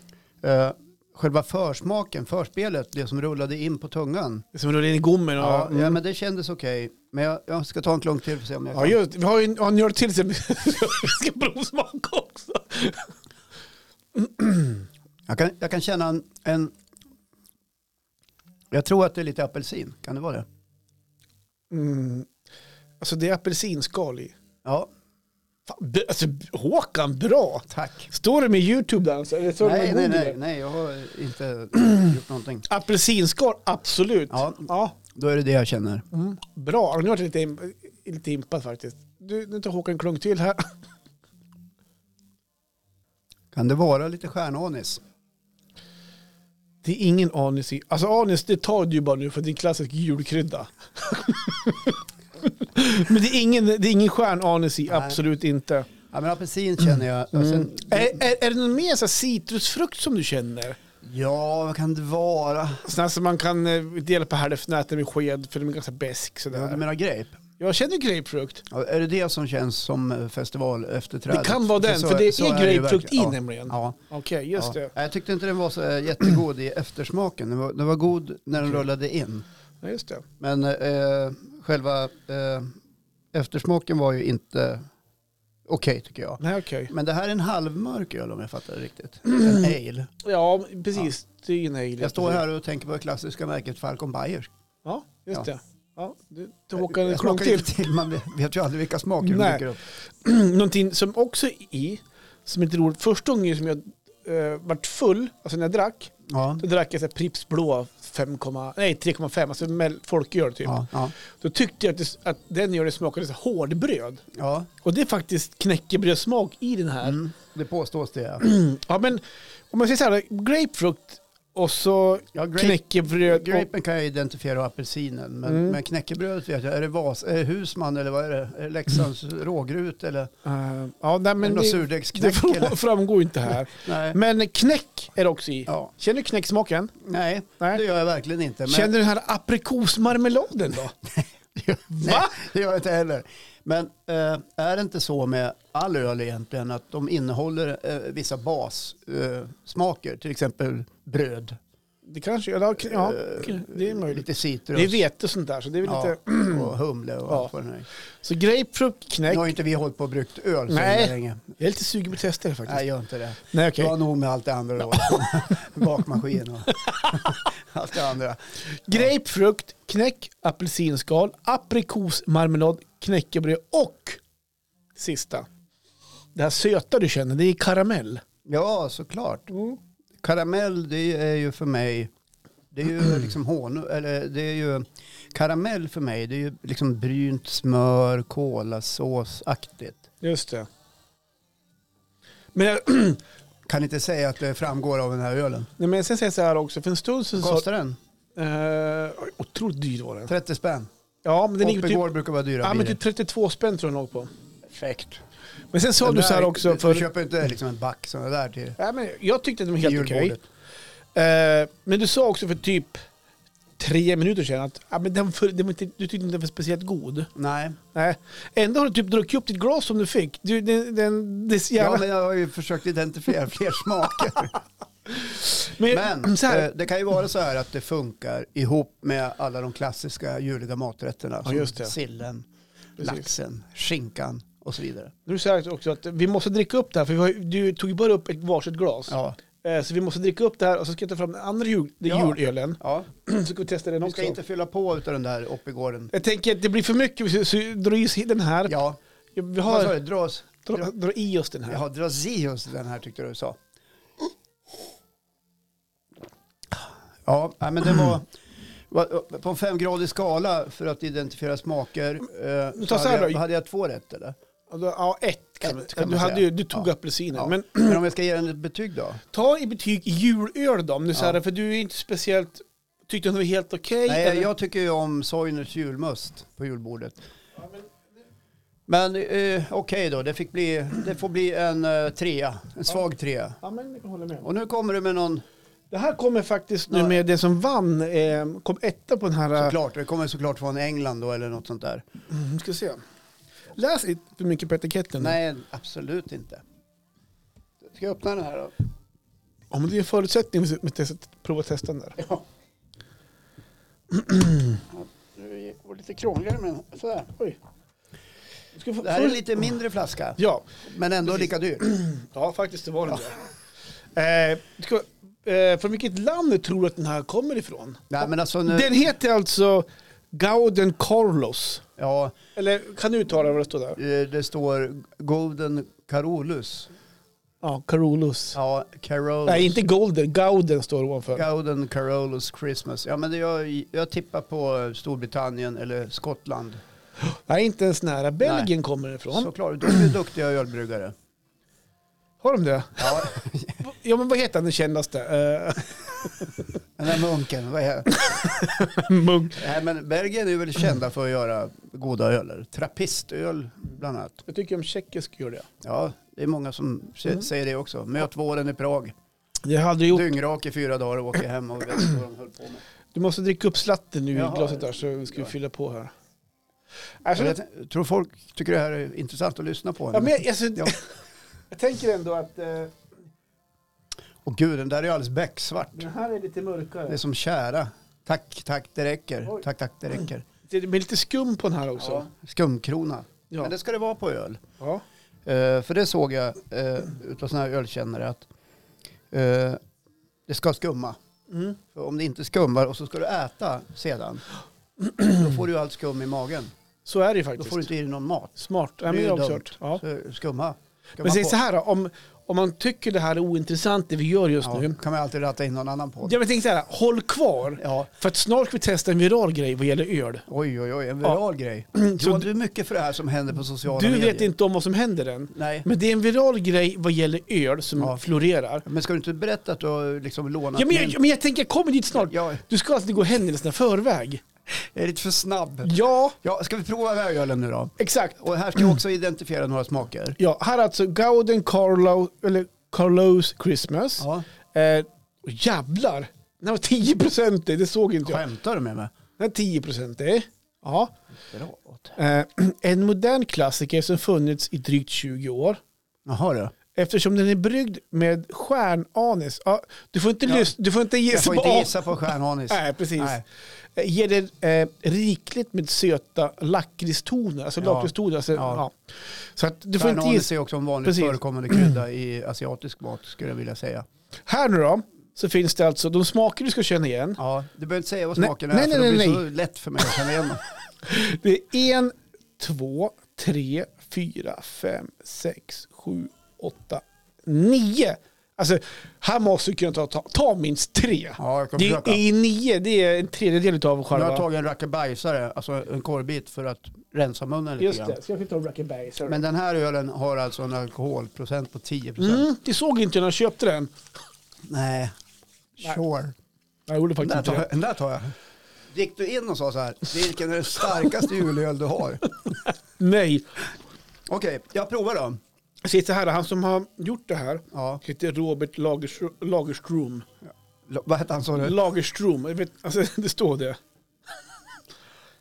Speaker 1: Eh, själva försmaken, förspelet, det som rullade in på tungan.
Speaker 2: Det är som rullar in i gommen. Och,
Speaker 1: Ja, ja
Speaker 2: mm.
Speaker 1: men det kändes okej. Men jag, jag ska ta en klunk till för att se om jag
Speaker 2: ja,
Speaker 1: kan.
Speaker 2: just, vi har ju en, har en öl till som vi ska provsmaka också.
Speaker 1: Jag kan, jag kan känna en, en... Jag tror att det är lite apelsin. Kan det vara det?
Speaker 2: Mm. Alltså det är apelsinskal i.
Speaker 1: Ja,
Speaker 2: Fan, b- alltså, Håkan, bra!
Speaker 1: tack.
Speaker 2: Står du med YouTube där? Alltså? Eller står du
Speaker 1: Nej, nej,
Speaker 2: med Google?
Speaker 1: nej, nej, jag har inte gjort någonting.
Speaker 2: Apelsinskal, absolut.
Speaker 1: Ja.
Speaker 2: ja.
Speaker 1: Då är det det jag känner.
Speaker 2: Mm. Bra, nu har jag lite, im- lite impad faktiskt. Du, nu tar Håkan en klunk till här.
Speaker 1: Kan det vara lite stjärnanis?
Speaker 2: Det är ingen anis i. Alltså anis, det tar du ju bara nu för din klassisk julkrydda. Men det är ingen, det är ingen stjärnanis i,
Speaker 1: Nej.
Speaker 2: absolut inte.
Speaker 1: Ja, men apelsin känner jag. Och
Speaker 2: Mm.
Speaker 1: sen,
Speaker 2: Är, är, är det någon mer så här citrusfrukt som du känner?
Speaker 1: ja, vad kan det vara?
Speaker 2: Sån här som man kan eh, dela på hälften och äta med sked för de är ganska besk
Speaker 1: Ja, du
Speaker 2: sådär.
Speaker 1: menar grape?
Speaker 2: Jag känner grapefrukt.
Speaker 1: Ja, är det det som känns som eh, festival
Speaker 2: Det kan vara den, för det är grapefrukt i nämligen.
Speaker 1: Ja,
Speaker 2: Okej, just
Speaker 1: ja.
Speaker 2: det.
Speaker 1: Nej, Jag tyckte inte den var så eh, jättegod i eftersmaken. Den var, den var god när den
Speaker 2: Okej.
Speaker 1: rullade in.
Speaker 2: Ja, just det.
Speaker 1: Men eh, själva eh, eftersmaken var ju inte okej tycker jag.
Speaker 2: Nej, okej.
Speaker 1: Men det här är en halvmörk öl om jag fattar det riktigt. En ale.
Speaker 2: Ja, precis. Det är ju en alien.
Speaker 1: Jag står här och tänker på det klassiska märket Falcon Bayers.
Speaker 2: Ja, just
Speaker 1: Ja.
Speaker 2: det. Ja, du tog Håkan en
Speaker 1: Jag
Speaker 2: klunk
Speaker 1: smakar
Speaker 2: till.
Speaker 1: lite till. Man vet- vet ju aldrig vilka smaker som
Speaker 2: Nej.
Speaker 1: dyker upp.
Speaker 2: Någonting som också är i, som inte är roligt. Första gången som jag eh, vart full, alltså när jag drack,
Speaker 1: Ja.
Speaker 2: då drack jag så här Pripps blå 5, nej 3,5, alltså mel- folköl typ.
Speaker 1: Ja, ja,
Speaker 2: Då tyckte jag att, det, att den gör det smakade så här hårdbröd.
Speaker 1: ja.
Speaker 2: Och det är faktiskt knäckebrödssmak i den här.
Speaker 1: Mm. Det påstås det. ja.
Speaker 2: Ja, men om man säger så här, grapefrukt och så
Speaker 1: Ja, grape-
Speaker 2: knäckebröd. Och,
Speaker 1: Grapen kan jag identifiera och apelsinen, men,
Speaker 2: Mm.
Speaker 1: men knäckebrödet vet jag. Är det, Vas, är det Husman eller vad är det? Är det Leksands rågrut eller
Speaker 2: Eh, ja, nej,
Speaker 1: är det
Speaker 2: Mm. men
Speaker 1: något
Speaker 2: det, det
Speaker 1: surdegsknäck? eller?
Speaker 2: fram- framgår inte här.
Speaker 1: Nej.
Speaker 2: Men knäck är det också i.
Speaker 1: Ja.
Speaker 2: Känner du knäcksmaken?
Speaker 1: Nej,
Speaker 2: Nej.
Speaker 1: det gör jag verkligen inte. Men,
Speaker 2: Känner du den här aprikosmarmeladen då?
Speaker 1: Nej, det gör jag inte heller. Men eh, är det inte så med all öl egentligen att de innehåller eh, vissa bassmaker, eh, smaker, till exempel bröd,
Speaker 2: Det kanske, ja, k- ja
Speaker 1: Eh,
Speaker 2: det är möjligt.
Speaker 1: lite citrus
Speaker 2: Det är vete och sånt där, så det är väl
Speaker 1: ja,
Speaker 2: lite...
Speaker 1: och humle och
Speaker 2: Ja.
Speaker 1: allt vad det är.
Speaker 2: Så grapefrukt, knäck.
Speaker 1: Nu har ju inte vi hållit på och bryggt öl så
Speaker 2: Nej.
Speaker 1: himla länge.
Speaker 2: Jag är lite sugen på att testa det faktiskt.
Speaker 1: Nej, gör inte det.
Speaker 2: Nej,
Speaker 1: Okay.
Speaker 2: okej.
Speaker 1: Du har nog med allt det andra då. Bakmaskin och allt det andra.
Speaker 2: Grapefrukt, knäck, apelsinskal, aprikosmarmelad, knäckebröd och sista. Det här söta du känner, det är karamell.
Speaker 1: Ja, såklart. Mm. Karamell, det är ju för mig, det är ju liksom honung, eller det är ju, karamell för mig, det är ju liksom brynt smör, kolasåsaktigt.
Speaker 2: Just det. Men, jag-
Speaker 1: Kan inte säga att det framgår av den här ölen.
Speaker 2: nej, men sen säger jag så här också, för en stund sedan så...
Speaker 1: Kostar den?
Speaker 2: Eh, otroligt dyr var den.
Speaker 1: 30 spänn.
Speaker 2: Ja, men den ligger typ,
Speaker 1: Oppigård brukar vara dyra
Speaker 2: ja, men
Speaker 1: bilar.
Speaker 2: typ 32 spänn tror jag den låg på.
Speaker 1: Perfekt.
Speaker 2: Men sen sa
Speaker 1: Den
Speaker 2: du så här
Speaker 1: där-
Speaker 2: också
Speaker 1: Du, du
Speaker 2: för...
Speaker 1: köper inte liksom en back sådana där till
Speaker 2: Ja, men jag tyckte att den var
Speaker 1: till
Speaker 2: helt okej.
Speaker 1: julbordet.
Speaker 2: Eh, men du sa också för typ tre minuter sedan att ja, men den för, den var inte, du tyckte inte den var speciellt god.
Speaker 1: Nej,
Speaker 2: Nej. Ändå har du typ druckit upp ditt glas som du fick. Du, den, den, det är så
Speaker 1: ja,
Speaker 2: jävla...
Speaker 1: men jag har ju försökt identifiera fler smaker.
Speaker 2: men,
Speaker 1: Men
Speaker 2: så här,
Speaker 1: eh, det kan ju vara så här att det funkar ihop med alla de klassiska juliga maträtterna. Som
Speaker 2: just det.
Speaker 1: sillen,
Speaker 2: Precis.
Speaker 1: laxen, skinkan och så vidare.
Speaker 2: Du sa också att vi måste dricka upp det här för vi har, ju- du tog ju bara upp ett varsitt glas.
Speaker 1: Ja.
Speaker 2: Eh, Så vi måste dricka upp det här och så ska jag ta fram den andra jul, den
Speaker 1: Ja.
Speaker 2: julölen.
Speaker 1: Ja,
Speaker 2: Så ska vi testa den
Speaker 1: vi
Speaker 2: också.
Speaker 1: ska inte fylla på utav den där Oppigården.
Speaker 2: Jag tänker att det blir för mycket, så, så dra i oss den här.
Speaker 1: Ja,
Speaker 2: Vi
Speaker 1: vad sa
Speaker 2: har,
Speaker 1: du? Dras?
Speaker 2: dra, dra i oss den här.
Speaker 1: Jaha, Drazios den här tyckte du sa. Ja, nej, men den var... var- På en femgradig skala för att identifiera smaker eh,
Speaker 2: tar
Speaker 1: så
Speaker 2: så här
Speaker 1: hade, jag,
Speaker 2: då.
Speaker 1: hade jag två rätt eller?
Speaker 2: Och då- Ja, ett kan,
Speaker 1: Ett kan
Speaker 2: du,
Speaker 1: man
Speaker 2: hade,
Speaker 1: säga.
Speaker 2: ju- du tog
Speaker 1: Ja.
Speaker 2: apelsinen.
Speaker 1: Ja.
Speaker 2: Men
Speaker 1: Men, om jag ska ge den ett betyg då?
Speaker 2: ta i betyg julöl då, om du säger det, för du är inte speciellt... Tyckte du den var helt okej?
Speaker 1: Nej,
Speaker 2: eller?
Speaker 1: jag tycker ju om Soiners julmust på julbordet. Men eh, okej då, det, fick bli, det får bli en eh, trea, en svag trea.
Speaker 2: Ja, men jag håller med.
Speaker 1: Och nu kommer du med någon,
Speaker 2: Det här kommer faktiskt nu
Speaker 1: Nej.
Speaker 2: med det som vann, eh, kom etta på den här... eh,
Speaker 1: såklart, det kommer såklart från England då eller något sånt där.
Speaker 2: Mm, ska se. Läs inte för mycket på etiketten.
Speaker 1: Nej, absolut inte. Ska jag öppna den här då?
Speaker 2: Ja, men det är en förutsättning för att testa- prova att testa den där.
Speaker 1: Ja. Nu var det lite krångligare men sådär.
Speaker 2: Oj. Du Ska få,
Speaker 1: Det här är en lite mindre flaska,
Speaker 2: Ja,
Speaker 1: men ändå lika dyr.
Speaker 2: ja faktiskt det var den där. Eh, du ska, eh, från vilket land tror du att den här kommer ifrån?
Speaker 1: Nej, men alltså nu,
Speaker 2: Den heter alltså Gauden Carlos.
Speaker 1: ja,
Speaker 2: Eller kan du uttala vad det står där?
Speaker 1: eh, det står Golden Carolus.
Speaker 2: Ja, Carolus.
Speaker 1: Ja, Carolus.
Speaker 2: Nej, inte Golden. Gauden står ovanför.
Speaker 1: Golden Carolus Christmas. Ja, men det- jag, jag tippar på Storbritannien eller Skottland.
Speaker 2: Nej, inte ens nära. Belgien kommer den ifrån.
Speaker 1: Såklart, de är ju duktiga ölbryggare.
Speaker 2: Har de det?
Speaker 1: Ja,
Speaker 2: Ja, men vad heter han den kändaste? Eh,
Speaker 1: den där munken, vad är
Speaker 2: Munk.
Speaker 1: Nej, men Belgien är väl kända för att göra goda öler. Trappistöl bland annat.
Speaker 2: Jag tycker om tjeckisk gör det.
Speaker 1: Ja, det är många som se-
Speaker 2: Mm.
Speaker 1: säger det också. Möt våren i Prag.
Speaker 2: Jag hade gjort.
Speaker 1: Dyngrak i fyra dagar och åker hem och vet inte vad de höll på med.
Speaker 2: Du måste dricka upp slatten nu i
Speaker 1: Jaha.
Speaker 2: glaset där så ska vi fylla på här.
Speaker 1: Jag
Speaker 2: Alltså,
Speaker 1: vet, jag tror folk tycker det här är intressant att lyssna på.
Speaker 2: ja, men jag, alltså,
Speaker 1: Ja.
Speaker 2: jag tänker ändå att eh,
Speaker 1: Och gud, den där är ju alldeles becksvart.
Speaker 2: den här är lite
Speaker 1: Det är
Speaker 2: mörkare.
Speaker 1: som kära. Tack, tack, det räcker.
Speaker 2: Oj.
Speaker 1: Tack, tack, det räcker.
Speaker 2: Det blir lite skum på den här också.
Speaker 1: Skumkrona.
Speaker 2: Ja.
Speaker 1: Men det ska det vara på öl.
Speaker 2: Ja.
Speaker 1: Eh, för det såg jag uh, utav sådana här ölkännare att eh, det ska skumma.
Speaker 2: Mm.
Speaker 1: För om det inte skummar och så ska du äta sedan, då får du ju allt skum i magen.
Speaker 2: Så är det ju
Speaker 1: Då
Speaker 2: faktiskt.
Speaker 1: får du inte i dig någon mat.
Speaker 2: Smart. Ja,
Speaker 1: Det
Speaker 2: men
Speaker 1: är
Speaker 2: jag
Speaker 1: ju
Speaker 2: har
Speaker 1: dumt.
Speaker 2: kört. Ja.
Speaker 1: Så skumma. skumma
Speaker 2: Men säg
Speaker 1: på.
Speaker 2: så här då, om, om man tycker det här är ointressant det vi gör just
Speaker 1: ja,
Speaker 2: nu.
Speaker 1: kan man alltid ratta in någon annan på.
Speaker 2: Ja, men tänk så här, håll kvar.
Speaker 1: Ja,
Speaker 2: För att snart ska vi testa en viral grej vad gäller öl.
Speaker 1: oj, oj, oj, en viral grej.
Speaker 2: Så
Speaker 1: Så du är mycket för det här som händer på sociala
Speaker 2: Du
Speaker 1: medier.
Speaker 2: vet inte om vad som händer än.
Speaker 1: Nej.
Speaker 2: Men det är en viral grej vad gäller öl som
Speaker 1: Ja.
Speaker 2: florerar.
Speaker 1: Men ska du inte berätta att du har liksom lånat
Speaker 2: Ja, men,
Speaker 1: min-
Speaker 2: jag, men jag tänker, jag kommer dit snart.
Speaker 1: Ja,
Speaker 2: Du ska alltid gå händelserna i förväg.
Speaker 1: jag är lite för snabb.
Speaker 2: Ja,
Speaker 1: Ja, ska vi prova ölen nu då?
Speaker 2: exakt.
Speaker 1: Och här ska jag också identifiera några smaker.
Speaker 2: Ja, här är alltså Gauden Carlo, eller Carlos Christmas.
Speaker 1: Ja.
Speaker 2: Eh, och jävlar! Den här var 10 procent, det såg inte jag.
Speaker 1: Skämtar du med mig?
Speaker 2: Den här 10 procent, ja.
Speaker 1: Bra.
Speaker 2: eh, En modern klassiker som funnits i drygt 20 år.
Speaker 1: Jaha du.
Speaker 2: Eftersom den är bryggd med stjärnanis. Ja, du, får inte
Speaker 1: Ja.
Speaker 2: lys- du får inte
Speaker 1: Jag
Speaker 2: gissa
Speaker 1: får
Speaker 2: på
Speaker 1: inte
Speaker 2: as-
Speaker 1: gissa på stjärnhanis.
Speaker 2: Nej, precis.
Speaker 1: Nej.
Speaker 2: Eh, Ger det eh, rikligt med söta lakritstoner. Alltså
Speaker 1: Ja.
Speaker 2: lakritstoner. Alltså, ja.
Speaker 1: Ja.
Speaker 2: Så att du får inte
Speaker 1: Stjärnhanis
Speaker 2: gissa.
Speaker 1: är också en vanligt
Speaker 2: Precis.
Speaker 1: förekommande krydda i asiatisk mat skulle jag vilja säga.
Speaker 2: Här nu då, så finns det alltså de smaker du ska känna igen.
Speaker 1: Ja, du behöver inte säga vad
Speaker 2: Nej,
Speaker 1: smaken
Speaker 2: nej,
Speaker 1: är för
Speaker 2: nej,
Speaker 1: det blir
Speaker 2: nej,
Speaker 1: så lätt för mig att känna igen dem.
Speaker 2: Det är en, två, tre, fyra, fem, sex, sju, åtta, nio. Alltså, här måste du kunna ta, ta, ta minst tre.
Speaker 1: Ja, jag kan
Speaker 2: det
Speaker 1: försöka.
Speaker 2: är nio, det är en tredjedel av
Speaker 1: Jag
Speaker 2: själva.
Speaker 1: har tagit en rackabajsare, alltså en korvbit för att rensa munnen lite
Speaker 2: Just
Speaker 1: grann.
Speaker 2: det, så jag fick ta Rackaberry.
Speaker 1: Men den här ölen har alltså en alkoholprocent på 10
Speaker 2: Mm, det såg inte jag när jag köpte den.
Speaker 1: Nej. Sure.
Speaker 2: Jag gjorde faktiskt
Speaker 1: Den där,
Speaker 2: inte
Speaker 1: tar
Speaker 2: det.
Speaker 1: jag, den där tar jag. Gick du in och sa så här, vilken är den starkaste julöl du har?
Speaker 2: Nej.
Speaker 1: Okej, jag provar då.
Speaker 2: Se så här, han som har gjort det här
Speaker 1: Ja.
Speaker 2: heter Robert Lagers, Lagerström.
Speaker 1: Lo- Vad hette han sa du?
Speaker 2: Lagerström, jag vet, alltså, det står det.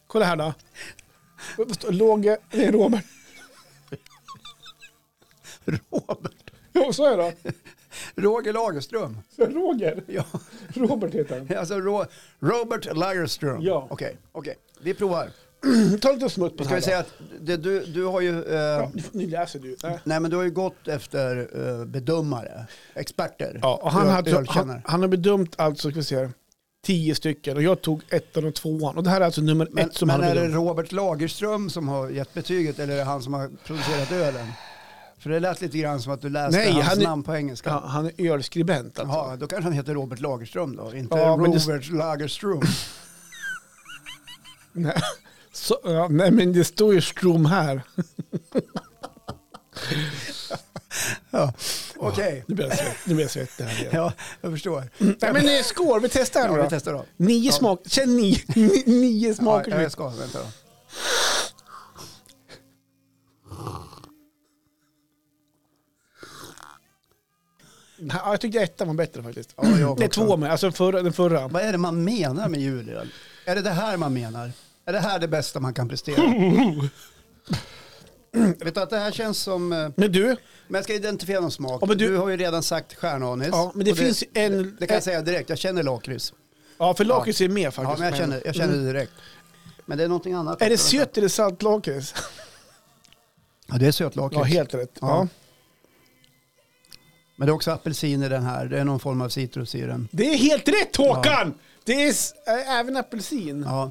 Speaker 2: Kolla här då. Vad står- Låge, det är Robert.
Speaker 1: Robert.
Speaker 2: Ja, vad sa jag då?
Speaker 1: Roger Lagerström.
Speaker 2: Så jag Roger?
Speaker 1: Ja,
Speaker 2: Robert heter han.
Speaker 1: alltså Ro- Robert Lagerström.
Speaker 2: Ja.
Speaker 1: Okej, okej. Vi provar.
Speaker 2: Ta lite smutt på den
Speaker 1: Ska
Speaker 2: här
Speaker 1: vi säga att det, du, du har ju... eh,
Speaker 2: då. Ja, Nu läser du. Äh.
Speaker 1: Nej men du har ju gått efter eh, bedömare, experter.
Speaker 2: Ja, och han,
Speaker 1: öl-
Speaker 2: hade, han,
Speaker 1: ölkännare.
Speaker 2: han har bedömt alltså, ska vi se, här, tio stycken och jag tog ettan och tvåan. Och det här är alltså nummer
Speaker 1: Men,
Speaker 2: ett som
Speaker 1: men
Speaker 2: han har
Speaker 1: är det
Speaker 2: bedömt.
Speaker 1: Robert Lagerström som har gett betyget eller är det han som har producerat ölen? För det lät lite grann som att du läste
Speaker 2: Nej,
Speaker 1: hans
Speaker 2: han är-
Speaker 1: namn på engelska.
Speaker 2: Ja, han är ölskribent alltså.
Speaker 1: Jaha, då kanske han heter Robert Lagerström då, inte
Speaker 2: Ja, men det-
Speaker 1: Robert Lagerström.
Speaker 2: Nej. Så, ja, nej, men det står ju Strom här.
Speaker 1: Ja. Okej,
Speaker 2: Nu blir jag svett- nu blir jag svettig här igen.
Speaker 1: ja, jag förstår.
Speaker 2: Nej, men eh, skål, vi testar
Speaker 1: Ja,
Speaker 2: här
Speaker 1: vi
Speaker 2: då.
Speaker 1: testar då.
Speaker 2: Nio smak, känn nio, Ni- nio
Speaker 1: Ja,
Speaker 2: smaker.
Speaker 1: jag ska, vänta då.
Speaker 2: Ja, jag tyckte ettan var bättre faktiskt.
Speaker 1: Ja, jag
Speaker 2: Nej,
Speaker 1: också.
Speaker 2: två med, alltså förra, den förra.
Speaker 1: Vad är det man menar med julöl? Är det det här man menar? Är det här det bästa man kan prestera? Vet du att det här känns som... eh,
Speaker 2: Men du,
Speaker 1: Men jag ska identifiera någon smak.
Speaker 2: Ja, men
Speaker 1: du...
Speaker 2: du-
Speaker 1: har ju redan sagt stjärnanis.
Speaker 2: ja, men det
Speaker 1: Och
Speaker 2: finns ju en...
Speaker 1: Det kan jag säga direkt, jag känner lakrits.
Speaker 2: Ja, för lakrits är med faktiskt.
Speaker 1: Ja, men jag känner, jag känner det direkt. Men det är någonting annat.
Speaker 2: Är det sött eller saltlakrits?
Speaker 1: Ja, det är sötlakrits.
Speaker 2: Ja, helt rätt.
Speaker 1: Ja.
Speaker 2: Ja.
Speaker 1: Men det är också apelsin i den här. Det är någon form av citrus i den.
Speaker 2: Det är helt rätt Håkan! Det är s- ä- även apelsin.
Speaker 1: Ja.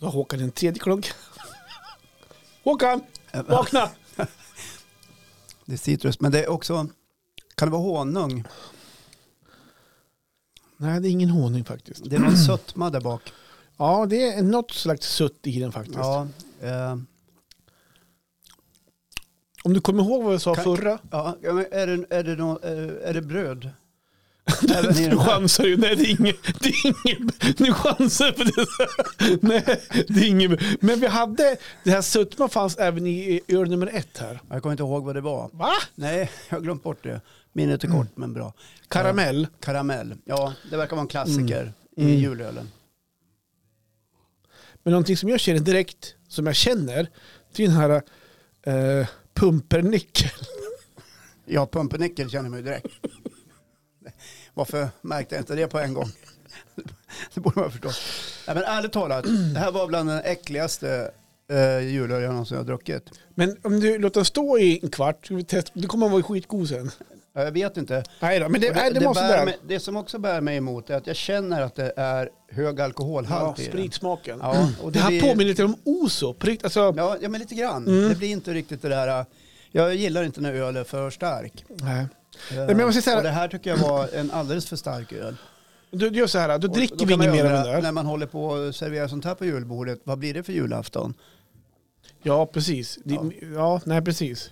Speaker 2: Så har Håkan en tredje klunk. Håkan, vakna!
Speaker 1: Det är citrus, men det är också... Kan det vara honung?
Speaker 2: Nej, det är ingen honung faktiskt.
Speaker 1: Det var en sötma där bak.
Speaker 2: Ja, det är något slags sutt i den faktiskt.
Speaker 1: Ja, eh,
Speaker 2: Om du kommer ihåg vad jag sa
Speaker 1: Kan-
Speaker 2: förra?
Speaker 1: ja, ja, men är, det, är, det nå- är, det- är det bröd? Även i
Speaker 2: Nu
Speaker 1: den här?
Speaker 2: chansar du. Nej, det är inget. Det är inget. Nu chansar du på det. Nej, det är inget. Men vi hade, det här sötman fanns även i i öl nummer ett här.
Speaker 1: Jag kommer inte ihåg vad det var.
Speaker 2: Va?
Speaker 1: Nej, jag har glömt bort det. Minnet är kort, men bra.
Speaker 2: Mm. Karamell.
Speaker 1: Karamell. Ja, det verkar vara en klassiker i
Speaker 2: Mm.
Speaker 1: julölen.
Speaker 2: Men någonting som jag känner direkt, som jag känner, det är den här eh, pumpernickel.
Speaker 1: Ja, pumpernickel känner man ju direkt. Varför märkte jag inte det på en gång? Det borde man förstå. Nej, men ärligt talat, det här var bland den äckligaste eh, julöl jag någonsin har druckit.
Speaker 2: Men om du låter den stå i en kvart, ska vi testa, då kommer den vara skitgod sen.
Speaker 1: Ja, Jag vet inte.
Speaker 2: Nej då, men det,
Speaker 1: Och
Speaker 2: nej, det, var
Speaker 1: bär
Speaker 2: sådär.
Speaker 1: mig, det som också bär mig emot är att jag känner att det är hög
Speaker 2: ja,
Speaker 1: alkoholhalt i den.
Speaker 2: spritsmaken. Mm.
Speaker 1: Ja, och
Speaker 2: Det här
Speaker 1: blir-
Speaker 2: påminner lite om Oso. på riktigt, Alltså,
Speaker 1: Ja, ja, men lite grann.
Speaker 2: Mm.
Speaker 1: Det blir inte riktigt det där... eh, Jag gillar inte när öl är för stark.
Speaker 2: nej.
Speaker 1: Eh,
Speaker 2: men jag måste säga-
Speaker 1: och det här tycker jag var en alldeles för stark öl.
Speaker 2: Du, du gör så här, då
Speaker 1: Och
Speaker 2: dricker
Speaker 1: då
Speaker 2: vi
Speaker 1: kan man
Speaker 2: inget mer
Speaker 1: undra,
Speaker 2: av den där.
Speaker 1: När man håller på och serverar sånt här på julbordet, vad blir det för julafton?
Speaker 2: Ja, precis. Det,
Speaker 1: Ja.
Speaker 2: ja. nej precis.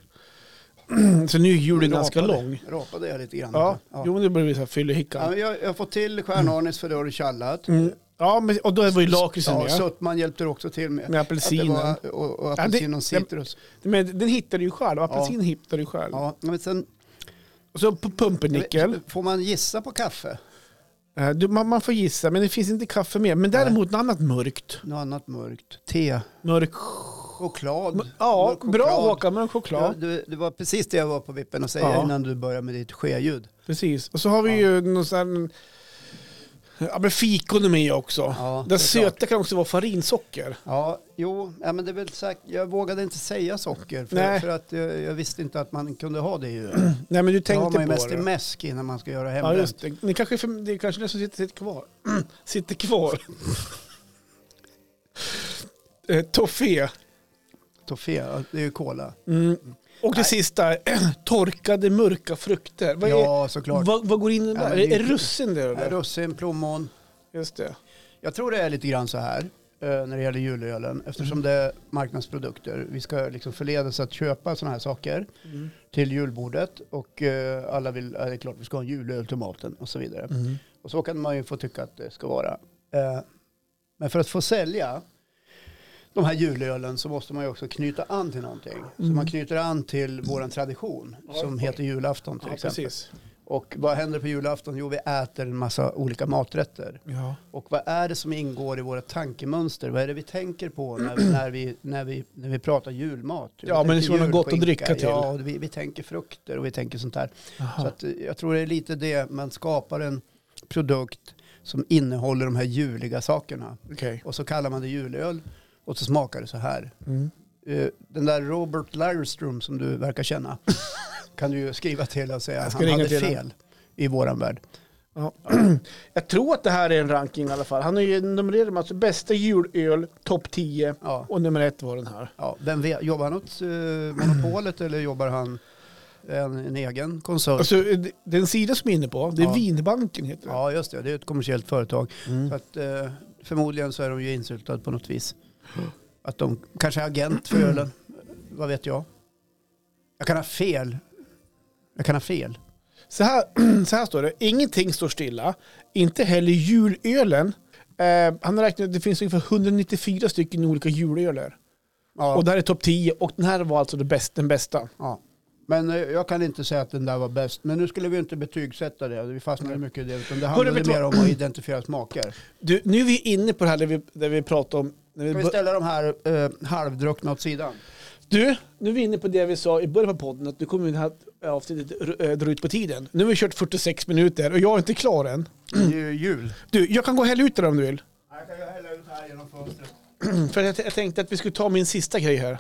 Speaker 2: så nu är julen ganska
Speaker 1: Rapade-
Speaker 2: lång.
Speaker 1: Rapade jag lite grann.
Speaker 2: Ja,
Speaker 1: Ja.
Speaker 2: jo men det börjar bli så här
Speaker 1: Ja,
Speaker 2: fyllehicka.
Speaker 1: men jag, jag har fått till stjärnanis för det har du tjallat.
Speaker 2: Mm. Ja, men, och då var ju lakritsen
Speaker 1: Ja,
Speaker 2: med.
Speaker 1: Sötman hjälpte du också till med.
Speaker 2: Med
Speaker 1: Att det
Speaker 2: apelsinen.
Speaker 1: var- Och, och apelsin och
Speaker 2: Ja, det-
Speaker 1: citrus.
Speaker 2: Men den hittar du ju själv, apelsin hittar du själv.
Speaker 1: Ja, men sen,
Speaker 2: Och så på pumpernickel.
Speaker 1: Får man gissa på kaffe?
Speaker 2: Eh, Du, man, man får gissa, men det finns inte kaffe med. Men däremot något annat mörkt.
Speaker 1: Något annat mörkt? Te?
Speaker 2: Mörk.
Speaker 1: Choklad?
Speaker 2: Ja,
Speaker 1: Mörk
Speaker 2: bra
Speaker 1: choklad.
Speaker 2: Håkan, mörk
Speaker 1: Ja,
Speaker 2: choklad.
Speaker 1: du, det var precis det jag var på vippen att säga
Speaker 2: Ja.
Speaker 1: innan du började med ditt skeljud.
Speaker 2: Precis. Och så har vi
Speaker 1: Ja.
Speaker 2: ju någon sån här... Ja, men fikon är med också.
Speaker 1: Ja, det är
Speaker 2: det söta kan också vara farinsocker.
Speaker 1: Ja, jo, ja, men det är väl sagt, jag vågade inte säga socker för,
Speaker 2: Nej.
Speaker 1: för att jag, jag visste inte att man kunde ha det i öl.
Speaker 2: Nej, men du
Speaker 1: Det har
Speaker 2: tänkte
Speaker 1: man ju
Speaker 2: på
Speaker 1: mest i
Speaker 2: det.
Speaker 1: mäsk innan man ska göra
Speaker 2: Ja,
Speaker 1: hembränt.
Speaker 2: just det. Det kanske är, för, det är kanske det som sitter, sitter kvar. sitter kvar. eh, toffé.
Speaker 1: Toffé, ja, det är ju kola.
Speaker 2: Mm. Och det
Speaker 1: Nej.
Speaker 2: sista, torkade mörka frukter. Vad, är,
Speaker 1: Ja, såklart.
Speaker 2: vad, vad går in i det
Speaker 1: Ja,
Speaker 2: där?
Speaker 1: men det
Speaker 2: är
Speaker 1: är-
Speaker 2: russin det? Eller?
Speaker 1: Russin, plommon.
Speaker 2: Just det.
Speaker 1: Jag tror det är lite grann så här eh, när det gäller julölen eftersom det är marknadsprodukter. Vi ska liksom förledas att köpa sådana här saker
Speaker 2: Mm.
Speaker 1: till julbordet och eh, alla vill, ja, det är klart vi ska ha en julöl till maten och så vidare.
Speaker 2: Mm.
Speaker 1: Och så kan man ju få tycka att det ska vara. Eh, Men för att få sälja de här julölen så måste man ju också knyta an till någonting. Så
Speaker 2: Mm.
Speaker 1: man knyter an till våran tradition
Speaker 2: Ja,
Speaker 1: som
Speaker 2: ja.
Speaker 1: heter julafton till
Speaker 2: Ja,
Speaker 1: exempel.
Speaker 2: precis.
Speaker 1: Och vad händer på julafton? Jo, vi äter en massa olika maträtter.
Speaker 2: Ja.
Speaker 1: Och vad är det som ingår i våra tankemönster? Vad är det vi tänker på när, när, vi, när, vi, när vi pratar julmat? Vi
Speaker 2: Ja, men det
Speaker 1: tänker
Speaker 2: ska vara något gott att
Speaker 1: julskinka.
Speaker 2: dricka till.
Speaker 1: Ja, och vi, vi tänker frukter och vi tänker sånt där.
Speaker 2: Jaha.
Speaker 1: Så att, eh, jag tror det är lite det, man skapar en produkt som innehåller de här juliga sakerna.
Speaker 2: Okej.
Speaker 1: Och så kallar man det julöl och så smakar det så här.
Speaker 2: Mm.
Speaker 1: Eh, Den där Robert Lagerström som du verkar känna kan du ju skriva till och säga
Speaker 2: Jag
Speaker 1: att
Speaker 2: ska
Speaker 1: han
Speaker 2: ringa
Speaker 1: hade
Speaker 2: till honom.
Speaker 1: fel i våran värld.
Speaker 2: Ja. Jag tror att det här är en ranking i alla fall. Han är ju numrerad med alltså bästa julöl, topp 10
Speaker 1: Ja.
Speaker 2: och nummer ett var den här.
Speaker 1: Ja, vem vet, jobbar han åt eh, monopolet eller jobbar han en, en egen konsult?
Speaker 2: Alltså, det- det är en sida som är inne på, det är
Speaker 1: Ja.
Speaker 2: Vinbanken heter det.
Speaker 1: Ja, just det. Det är ett kommersiellt företag.
Speaker 2: Mm.
Speaker 1: Så att, eh, förmodligen så är de ju insyltade på något vis. Att de kanske är agent för ölen. Vad vet jag? Jag kan ha fel. Jag kan ha fel.
Speaker 2: Så, här, så här står det, ingenting står stilla, inte heller julölen. Eh, han har räknat, det finns ungefär 194 stycken olika julöler.
Speaker 1: Ja,
Speaker 2: Och det här är topp 10 och den här var alltså det bäst, den bästa.
Speaker 1: ja. Men eh, jag kan inte säga att den där var bäst. Men nu skulle vi ju inte betygsätta det. Vi fastnade mycket i det. Utan det handlade
Speaker 2: vet du
Speaker 1: mer om att identifiera smaker.
Speaker 2: Du, nu är vi inne på det här där vi, där vi pratar om... När vi
Speaker 1: Ska vi
Speaker 2: bör-
Speaker 1: ställa de här eh, halvdruckna åt sidan?
Speaker 2: Du, nu är vi inne på det vi sa i början på podden, att nu kommer det här avsnittet eh, dra ut på tiden. Nu har vi kört 46 minuter och jag är inte klar än.
Speaker 1: Det är ju jul.
Speaker 2: Du, jag kan gå och hälla ut det där om du vill. Mm,
Speaker 1: Jag kan ju hälla ut här genom fönstret.
Speaker 2: För jag, jag tänkte att vi skulle ta min sista grej här.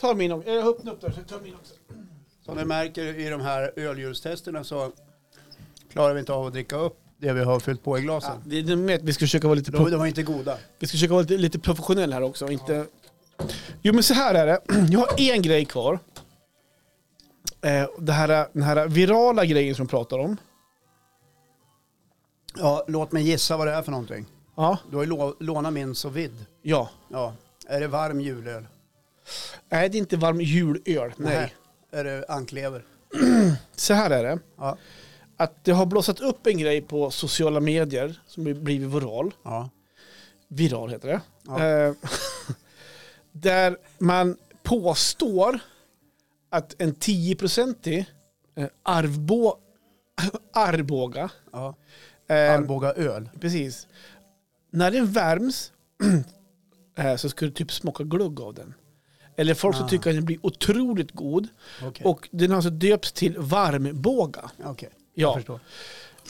Speaker 2: Ta min också. Jag öppnar upp där, så jag tar min också.
Speaker 1: Som ni märker i de här öljulstesterna så klarar vi inte av att dricka upp det vi har fyllt på i
Speaker 2: Ja,
Speaker 1: glasen.
Speaker 2: det är med att vi ska försöka vara lite,
Speaker 1: De,
Speaker 2: pro-
Speaker 1: de var inte goda.
Speaker 2: vi ska försöka vara lite, lite professionell här också. och Inte... Jo men så här är det. Jag har en grej kvar. Eh, det här, den här virala grejen som de pratar om.
Speaker 1: Ja, låt mig gissa vad det är för någonting.
Speaker 2: Ja.
Speaker 1: Du har ju lå- lånat min sous vide.
Speaker 2: Ja.
Speaker 1: Ja. Är det varm julöl?
Speaker 2: Nej, det är inte varm julöl. Nej.
Speaker 1: Nähä. Är det anklever?
Speaker 2: Så här är det.
Speaker 1: Ja.
Speaker 2: Att det har blossat upp en grej på sociala medier som har blivit viral.
Speaker 1: ja.
Speaker 2: Viral heter det.
Speaker 1: Ja.
Speaker 2: Eh, där man påstår att en 10-procentig eh, Arvbo, Arboga,
Speaker 1: ja.
Speaker 2: eh,
Speaker 1: Arboga öl.
Speaker 2: precis, när den värms eh, så skulle det typ smaka glugg av den. Eller folk som
Speaker 1: Ah.
Speaker 2: tycker att den blir otroligt god.
Speaker 1: Okej.
Speaker 2: Och den har alltså döpts till varmbåga.
Speaker 1: Okej. Jag
Speaker 2: Ja.
Speaker 1: förstår.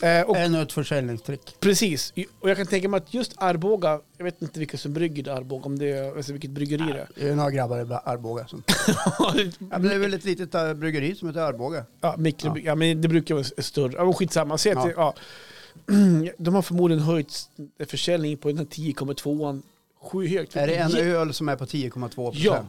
Speaker 2: Eh, och
Speaker 1: Ännu ett försäljningstrick.
Speaker 2: Precis, och jag kan tänka mig att just Arboga, jag vet inte vilka som brygger det Arboga, om det är, alltså vilket bryggeri det är.
Speaker 1: Det är några grabbar i Arboga. Som... Ja, men det är väl ett litet äh, bryggeri som heter Arboga.
Speaker 2: ja, mikro, ja. men det brukar vara större. Ja, men skitsamma, se att
Speaker 1: Ja.
Speaker 2: det, ja. De har förmodligen höjt försäljningen på den här 10,2an sjuhögt.
Speaker 1: Är det en
Speaker 2: Ja,
Speaker 1: öl som är på 10,2 procent?
Speaker 2: Ja.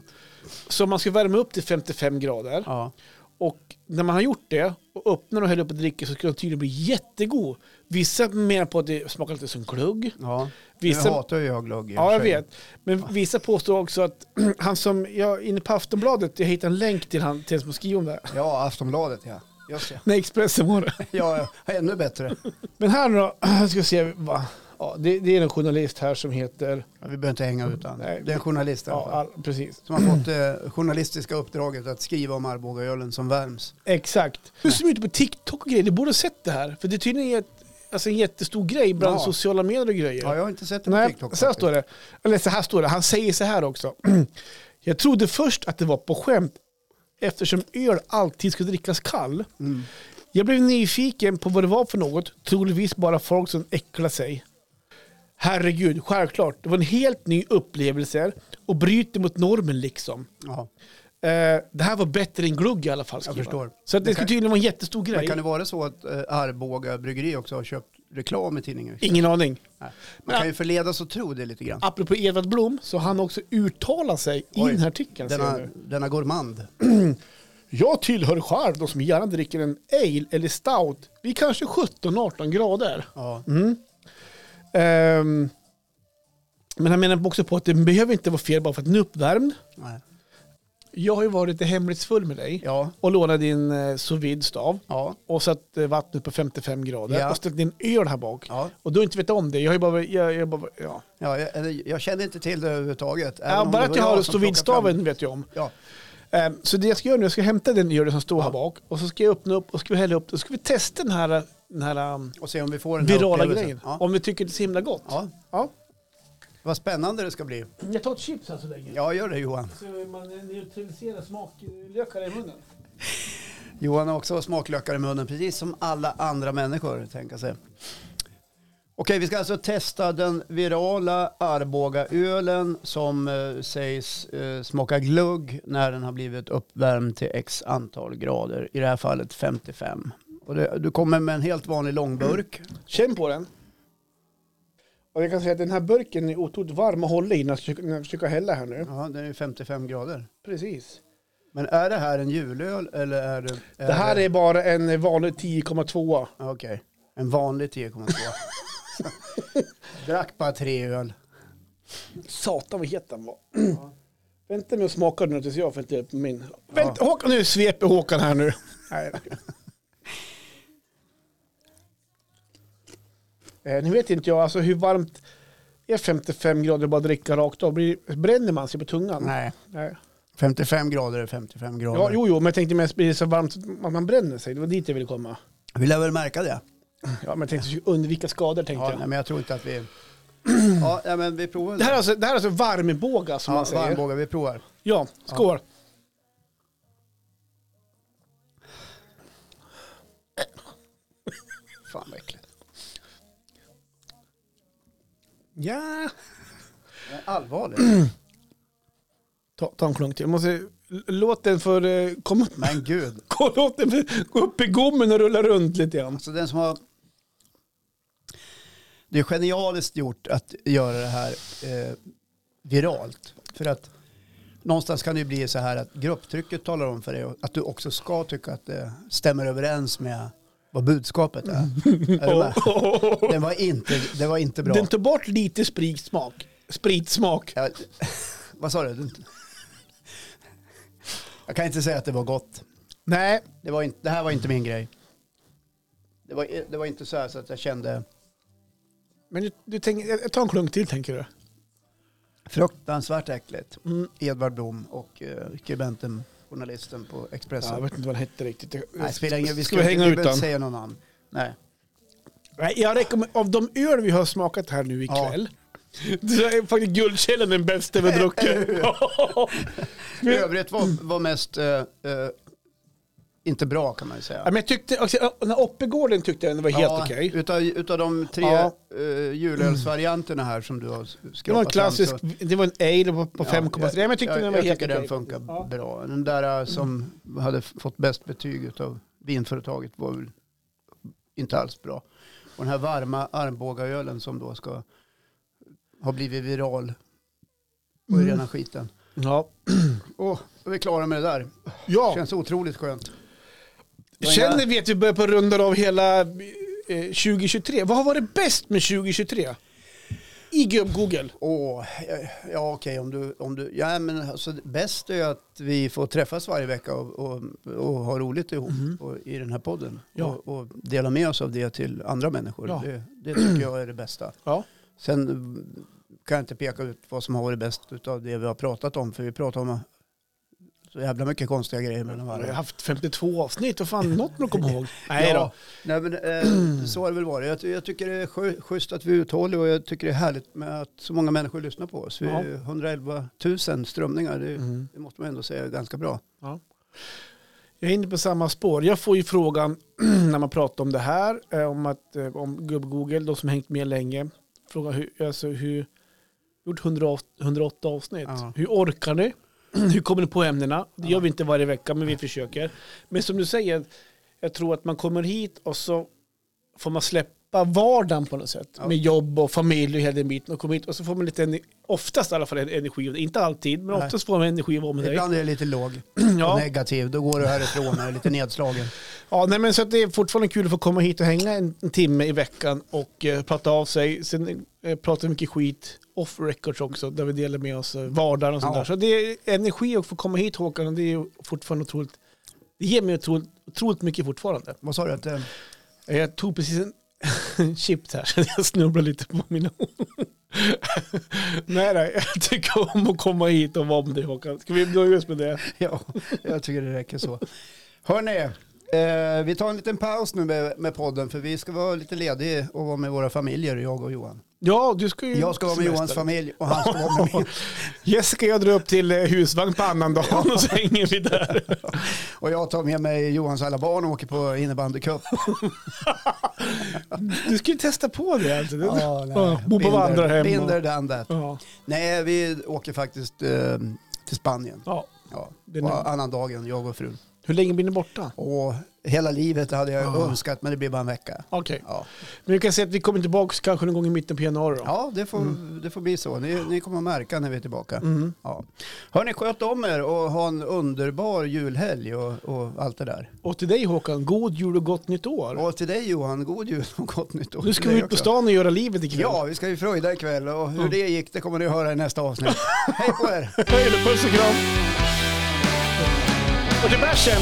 Speaker 2: Så man ska värma upp till 55 grader.
Speaker 1: ja.
Speaker 2: Och när man har gjort det och öppnar och häller upp och dricker så ska den tydligen bli jättegod. Vissa menar på att det smakar lite som glögg.
Speaker 1: ja.
Speaker 2: Vissa,
Speaker 1: Nu hatar ju jag glögg i och
Speaker 2: Ja, jag
Speaker 1: för sig.
Speaker 2: vet. Men vissa påstår också att han som, jag inne på Aftonbladet, jag hittade en länk till han, till en som skriver om det här.
Speaker 1: Ja, Aftonbladet ja. Just det.
Speaker 2: Nej, Expressen var det.
Speaker 1: Ja, ja, ännu bättre.
Speaker 2: Men här nu då, jag ska se, va? Ja, det, det är en journalist här som heter,
Speaker 1: Ja, vi behöver inte hänga ut han. Det
Speaker 2: Nej.
Speaker 1: är en journalist i alla
Speaker 2: ja,
Speaker 1: fall.
Speaker 2: all, precis.
Speaker 1: Som har fått det journalistiska uppdraget att skriva om Arbogaölen som värms.
Speaker 2: Exakt. Du som är ute på TikTok och grejer, du borde ha sett det här. För det är tydligen ett, alltså en jättestor grej bland
Speaker 1: Ja.
Speaker 2: sociala medier och grejer.
Speaker 1: Ja, jag har inte sett det på
Speaker 2: Nej,
Speaker 1: TikTok.
Speaker 2: så här
Speaker 1: faktiskt.
Speaker 2: står det. Eller så här står det, han säger så här också. Jag trodde först att det var på skämt eftersom öl alltid ska drickas kall.
Speaker 1: Mm.
Speaker 2: Jag blev nyfiken på vad det var för något, troligtvis bara folk som äcklar sig. Herregud, självklart. Det var en helt ny upplevelse och bryter mot normen liksom.
Speaker 1: Ja.
Speaker 2: Eh, det här var bättre än glugg i alla fall. skriver han.
Speaker 1: förstår.
Speaker 2: Så att det
Speaker 1: Det
Speaker 2: ska
Speaker 1: kan-
Speaker 2: tydligen vara en jättestor
Speaker 1: Men
Speaker 2: grej.
Speaker 1: kan det vara så att eh, Arboga bryggeri också har köpt reklam i tidningen?
Speaker 2: Ingen aning.
Speaker 1: Nej. Man kan ju förledas att tro det lite grann.
Speaker 2: Apropå Edvard Blom så har han också uttalat sig Ah, i
Speaker 1: Oj.
Speaker 2: den här artikeln. ser
Speaker 1: Denna,
Speaker 2: jag nu.
Speaker 1: denna gourmand.
Speaker 2: Jag tillhör själv de som gärna dricker en ale eller stout vid kanske 17-18 grader.
Speaker 1: Ja.
Speaker 2: Ehm, men han menar också på att det behöver inte vara fel bara för att den är uppvärmd.
Speaker 1: Nej.
Speaker 2: Jag har ju varit lite hemlighetsfull med dig
Speaker 1: Ja.
Speaker 2: och lånat din eh, sous vide stav
Speaker 1: Ja.
Speaker 2: och satt eh, vattnet på 55 grader
Speaker 1: Ja.
Speaker 2: och ställt in öl här bak.
Speaker 1: Ja.
Speaker 2: Och du har inte vetat om det. Jag har ju bara... Jag, jag bara ja.
Speaker 1: Ja, jag, eller jag känner inte till det överhuvudtaget. även
Speaker 2: Ja,
Speaker 1: om
Speaker 2: bara
Speaker 1: det
Speaker 2: att
Speaker 1: var
Speaker 2: jag har
Speaker 1: som
Speaker 2: sous vide
Speaker 1: plockade fram-
Speaker 2: staven vet jag om.
Speaker 1: Ja.
Speaker 2: Ehm, Så det jag ska göra nu, jag ska hämta den öl som står här bak och så ska jag öppna upp och ska vi hälla upp och så ska vi testa den här, den här um,
Speaker 1: Och se om vi får den här
Speaker 2: virala
Speaker 1: upplevelsen.
Speaker 2: grejen.
Speaker 1: Ja.
Speaker 2: Om vi tycker det är så himla gott.
Speaker 1: Ja.
Speaker 2: Ja.
Speaker 1: Vad spännande det ska bli.
Speaker 2: Jag tar ett chips här så länge.
Speaker 1: Ja, gör det Johan.
Speaker 2: Så man neutraliserar smaklökar i munnen.
Speaker 1: Johan har också smaklökar i munnen, precis som alla andra människor, tänka sig. Okej, vi ska alltså testa den virala Arbogaölen som eh, sägs eh, smaka glugg när den har blivit uppvärmd till x antal grader. I det här fallet 55. Och det, du kommer med en helt vanlig långburk.
Speaker 2: Känn på den. Och jag kan säga att den här burken är otroligt varm att hålla i när jag försöker, när jag försöker hälla här nu.
Speaker 1: Ja, den är 55 grader.
Speaker 2: Precis.
Speaker 1: Men är det här en julöl eller är det...
Speaker 2: Det här är bara en vanlig 10,2.
Speaker 1: Okej, en vanlig 10,2. Drack bara tre öl.
Speaker 2: Satan vad het den var. Vänta med att smaka nu tills jag får inte på min. Vänta, Håkan, nu sveper Håkan här nu. Nej. Eh, nu vet inte jag alltså hur varmt är 55 grader bara dricka rakt av? Blir, bränner man sig på tungan?
Speaker 1: Nej,
Speaker 2: Nej.
Speaker 1: 55 grader är 55 grader.
Speaker 2: Ja, jo, jo, men jag tänkte mest blir det så varmt att man bränner sig. Det var dit jag ville komma.
Speaker 1: Vi lär väl märka det.
Speaker 2: Ja, men jag tänkte undvika skador tänkte
Speaker 1: Ja,
Speaker 2: jag.
Speaker 1: nej, men jag tror inte att vi... Ja, nej, men vi provar.
Speaker 2: Det här är alltså, det här är alltså varmbåga som
Speaker 1: ja,
Speaker 2: man säger.
Speaker 1: varmbågar, vi provar.
Speaker 2: Ja, skål.
Speaker 1: Fan vad äckligt. Ja. Men Allvarligt.
Speaker 2: Ta, ta en klunk till. Jag måste, l- låt den för, eh, kom upp,
Speaker 1: Men gud.
Speaker 2: gå- låt den för, gå upp i gommen och rulla runt lite grann.
Speaker 1: Alltså den som har... Det är genialiskt gjort att göra det här eh, viralt. För att någonstans kan det ju bli så här att grupptrycket talar om för dig att du också ska tycka att det stämmer överens med vad budskapet är. är du med? Den var inte, Mm. Oh. det var inte bra.
Speaker 2: Den tog bort lite spritsmak. Spritsmak.
Speaker 1: Jag, vad sa du? Jag kan inte säga att det var gott.
Speaker 2: Nej,
Speaker 1: Det, var inte, det här var inte min grej. Det var, det var inte så här så att jag kände
Speaker 2: men du, du tänker, jag- jag tar en klunk till tänker du. Mm.
Speaker 1: fruktansvärt äckligt. Edvard Blom och eh, skribenten, journalisten på
Speaker 2: Ja, jag
Speaker 1: Expressen.
Speaker 2: vet inte vad den hette riktigt. Jag-
Speaker 1: Nej, spelar ingen, vi
Speaker 2: ska vi hänga ut
Speaker 1: behöver
Speaker 2: den?
Speaker 1: inte säga någon namn. Nej.
Speaker 2: Nej, jag rekommenderar, av de öl vi har smakat här nu ikväll, så är faktiskt Guldkällan den bästa vi har druckit.
Speaker 1: I övrigt var, var mest eh, eh, inte bra kan man ju säga.
Speaker 2: Ja, men jag tyckte, också, när Oppegården tyckte jag den var helt
Speaker 1: Ja,
Speaker 2: okej.
Speaker 1: Utav, utav de tre
Speaker 2: Ja.
Speaker 1: eh, julölsvarianterna här som du har s- skrapat
Speaker 2: Det var en
Speaker 1: fram
Speaker 2: klassisk,
Speaker 1: så-
Speaker 2: det var en ale på, på
Speaker 1: Ja,
Speaker 2: 5,3. Ja, men jag tyckte den var
Speaker 1: jag
Speaker 2: helt
Speaker 1: tycker den
Speaker 2: okej.
Speaker 1: funkar
Speaker 2: Ja. Mm.
Speaker 1: bra. Den där eh, som hade f- fått bäst betyg av vinföretaget var väl inte alls bra. Och den här varma Arbogaölen som då ska ha blivit viral och
Speaker 2: Mm.
Speaker 1: är rena skiten.
Speaker 2: Ja.
Speaker 1: Åh, då är vi klara med det där.
Speaker 2: ja.
Speaker 1: Känns otroligt skönt.
Speaker 2: Känner vi att vi börjar på runda av hela eh, 2023? Vad har varit bäst med 2023? I gubb Google.
Speaker 1: Åh, ja okej om du, om du, ja men alltså det bäst är att vi får träffas varje vecka och, och, och ha roligt ihop och, i den här podden.
Speaker 2: Mhm. Ja.
Speaker 1: Och, och dela med oss av det till andra människor.
Speaker 2: Ja.
Speaker 1: Det, det tycker jag är det bästa.
Speaker 2: Ja.
Speaker 1: Sen mm, kan jag inte peka ut vad som har varit bäst av det vi har pratat om, för vi pratar om så jävla mycket konstiga grejer mellan
Speaker 2: Vi har
Speaker 1: varandra.
Speaker 2: haft 52 avsnitt, och fan något man kommer ihåg. Nej
Speaker 1: ja,
Speaker 2: då.
Speaker 1: Nej, men, eh, så har det väl varit. Jag, ty- jag tycker det är schö- schysst att vi är uthålliga och jag tycker det är härligt med att så många människor lyssnar på oss. Vi är
Speaker 2: Ja.
Speaker 1: ju 111 000 strömningar, det,
Speaker 2: Mm.
Speaker 1: det måste man ändå säga är ganska bra.
Speaker 2: Jag är inne på samma spår. Jag får ju frågan när man pratar om det här, eh, om, att, eh, om gubb-Google, de som hängt med länge. Frågan hur, alltså hur, gjort 108, 108 avsnitt.
Speaker 1: Ja.
Speaker 2: Hur orkar ni? hur kommer ni på ämnena? Det gör vi inte varje vecka, men vi försöker. Men som du säger, jag tror att man kommer hit och så får man släppa vardagen på något sätt.
Speaker 1: Ja.
Speaker 2: Med jobb och familj och hela den biten. Och kommer hit och så får man lite, ener- oftast i alla fall, en- energi av det. Inte alltid, men
Speaker 1: Nej.
Speaker 2: oftast får man energi av omgivningen.
Speaker 1: Ibland är det lite låg och
Speaker 2: Ja.
Speaker 1: negativ, då går du härifrån och är lite nedslagen.
Speaker 2: Ja, nej, men så att det är fortfarande kul att få komma hit och hänga en, en timme i veckan och eh, prata av sig. Sen eh, pratar vi mycket skit off records också, där vi delar med oss eh, vardagen och sånt
Speaker 1: Ja.
Speaker 2: där. Så det är energi att få komma hit Håkan och det är ju fortfarande otroligt. Det ger mig otroligt, otroligt mycket fortfarande.
Speaker 1: Vad sa du? Att, eh,
Speaker 2: Eh, Jag tog precis en- en chips här så jag snubblade lite på mina ord. nej, nej, jag tycker om att komma hit och vara med dig Håkan. Ska vi nöja oss med det?
Speaker 1: ja, jag tycker det räcker så. Hörni, eh, vi tar en liten paus nu med, med podden för vi ska vara lite lediga och vara med våra familjer, jag och Johan.
Speaker 2: Ja, du ska ju...
Speaker 1: Jag ska vara med
Speaker 2: Mm.
Speaker 1: Johans
Speaker 2: semester.
Speaker 1: familj och han ska vara med min.
Speaker 2: Jessica jag drar upp till eh, husvagn på annandagen och så hänger vi där.
Speaker 1: Och jag tar med mig Johans alla barn och åker på innebandycup.
Speaker 2: Du skulle testa på det alltså. Det-
Speaker 1: Ja, nej.
Speaker 2: Ja, bo på
Speaker 1: Binder-
Speaker 2: vandrarhem och-
Speaker 1: Binder done that.
Speaker 2: Ja.
Speaker 1: Nej, vi åker faktiskt eh, till Spanien.
Speaker 2: ja.
Speaker 1: Ja,
Speaker 2: Det är
Speaker 1: på
Speaker 2: nu.
Speaker 1: annan dagen, jag och frun.
Speaker 2: Hur länge blir ni borta?
Speaker 1: Och hela livet hade jag
Speaker 2: Ja.
Speaker 1: önskat, men det blir bara en vecka.
Speaker 2: Okej,
Speaker 1: Ja,
Speaker 2: men vi kan säga att vi kommer tillbaka kanske någon gång i mitten på januari då.
Speaker 1: ja det, får, det får bli så. Ni, ni kommer att märka när vi är tillbaka.
Speaker 2: Mm.
Speaker 1: Ja. Hörni, sköt om er och ha en underbar julhelg och, och allt det där.
Speaker 2: Och till dig Håkan, god jul och gott nytt år.
Speaker 1: Och till dig Johan, god jul och gott nytt år.
Speaker 2: nu ska
Speaker 1: till
Speaker 2: vi
Speaker 1: dig
Speaker 2: ut på
Speaker 1: också.
Speaker 2: stan och göra livet ikväll.
Speaker 1: Ja, vi ska ju fröjda ikväll och hur
Speaker 2: Mm.
Speaker 1: det gick det kommer ni att höra i nästa avsnitt. Hej på er!
Speaker 2: Hej då, puss och kram. Och till bärsen.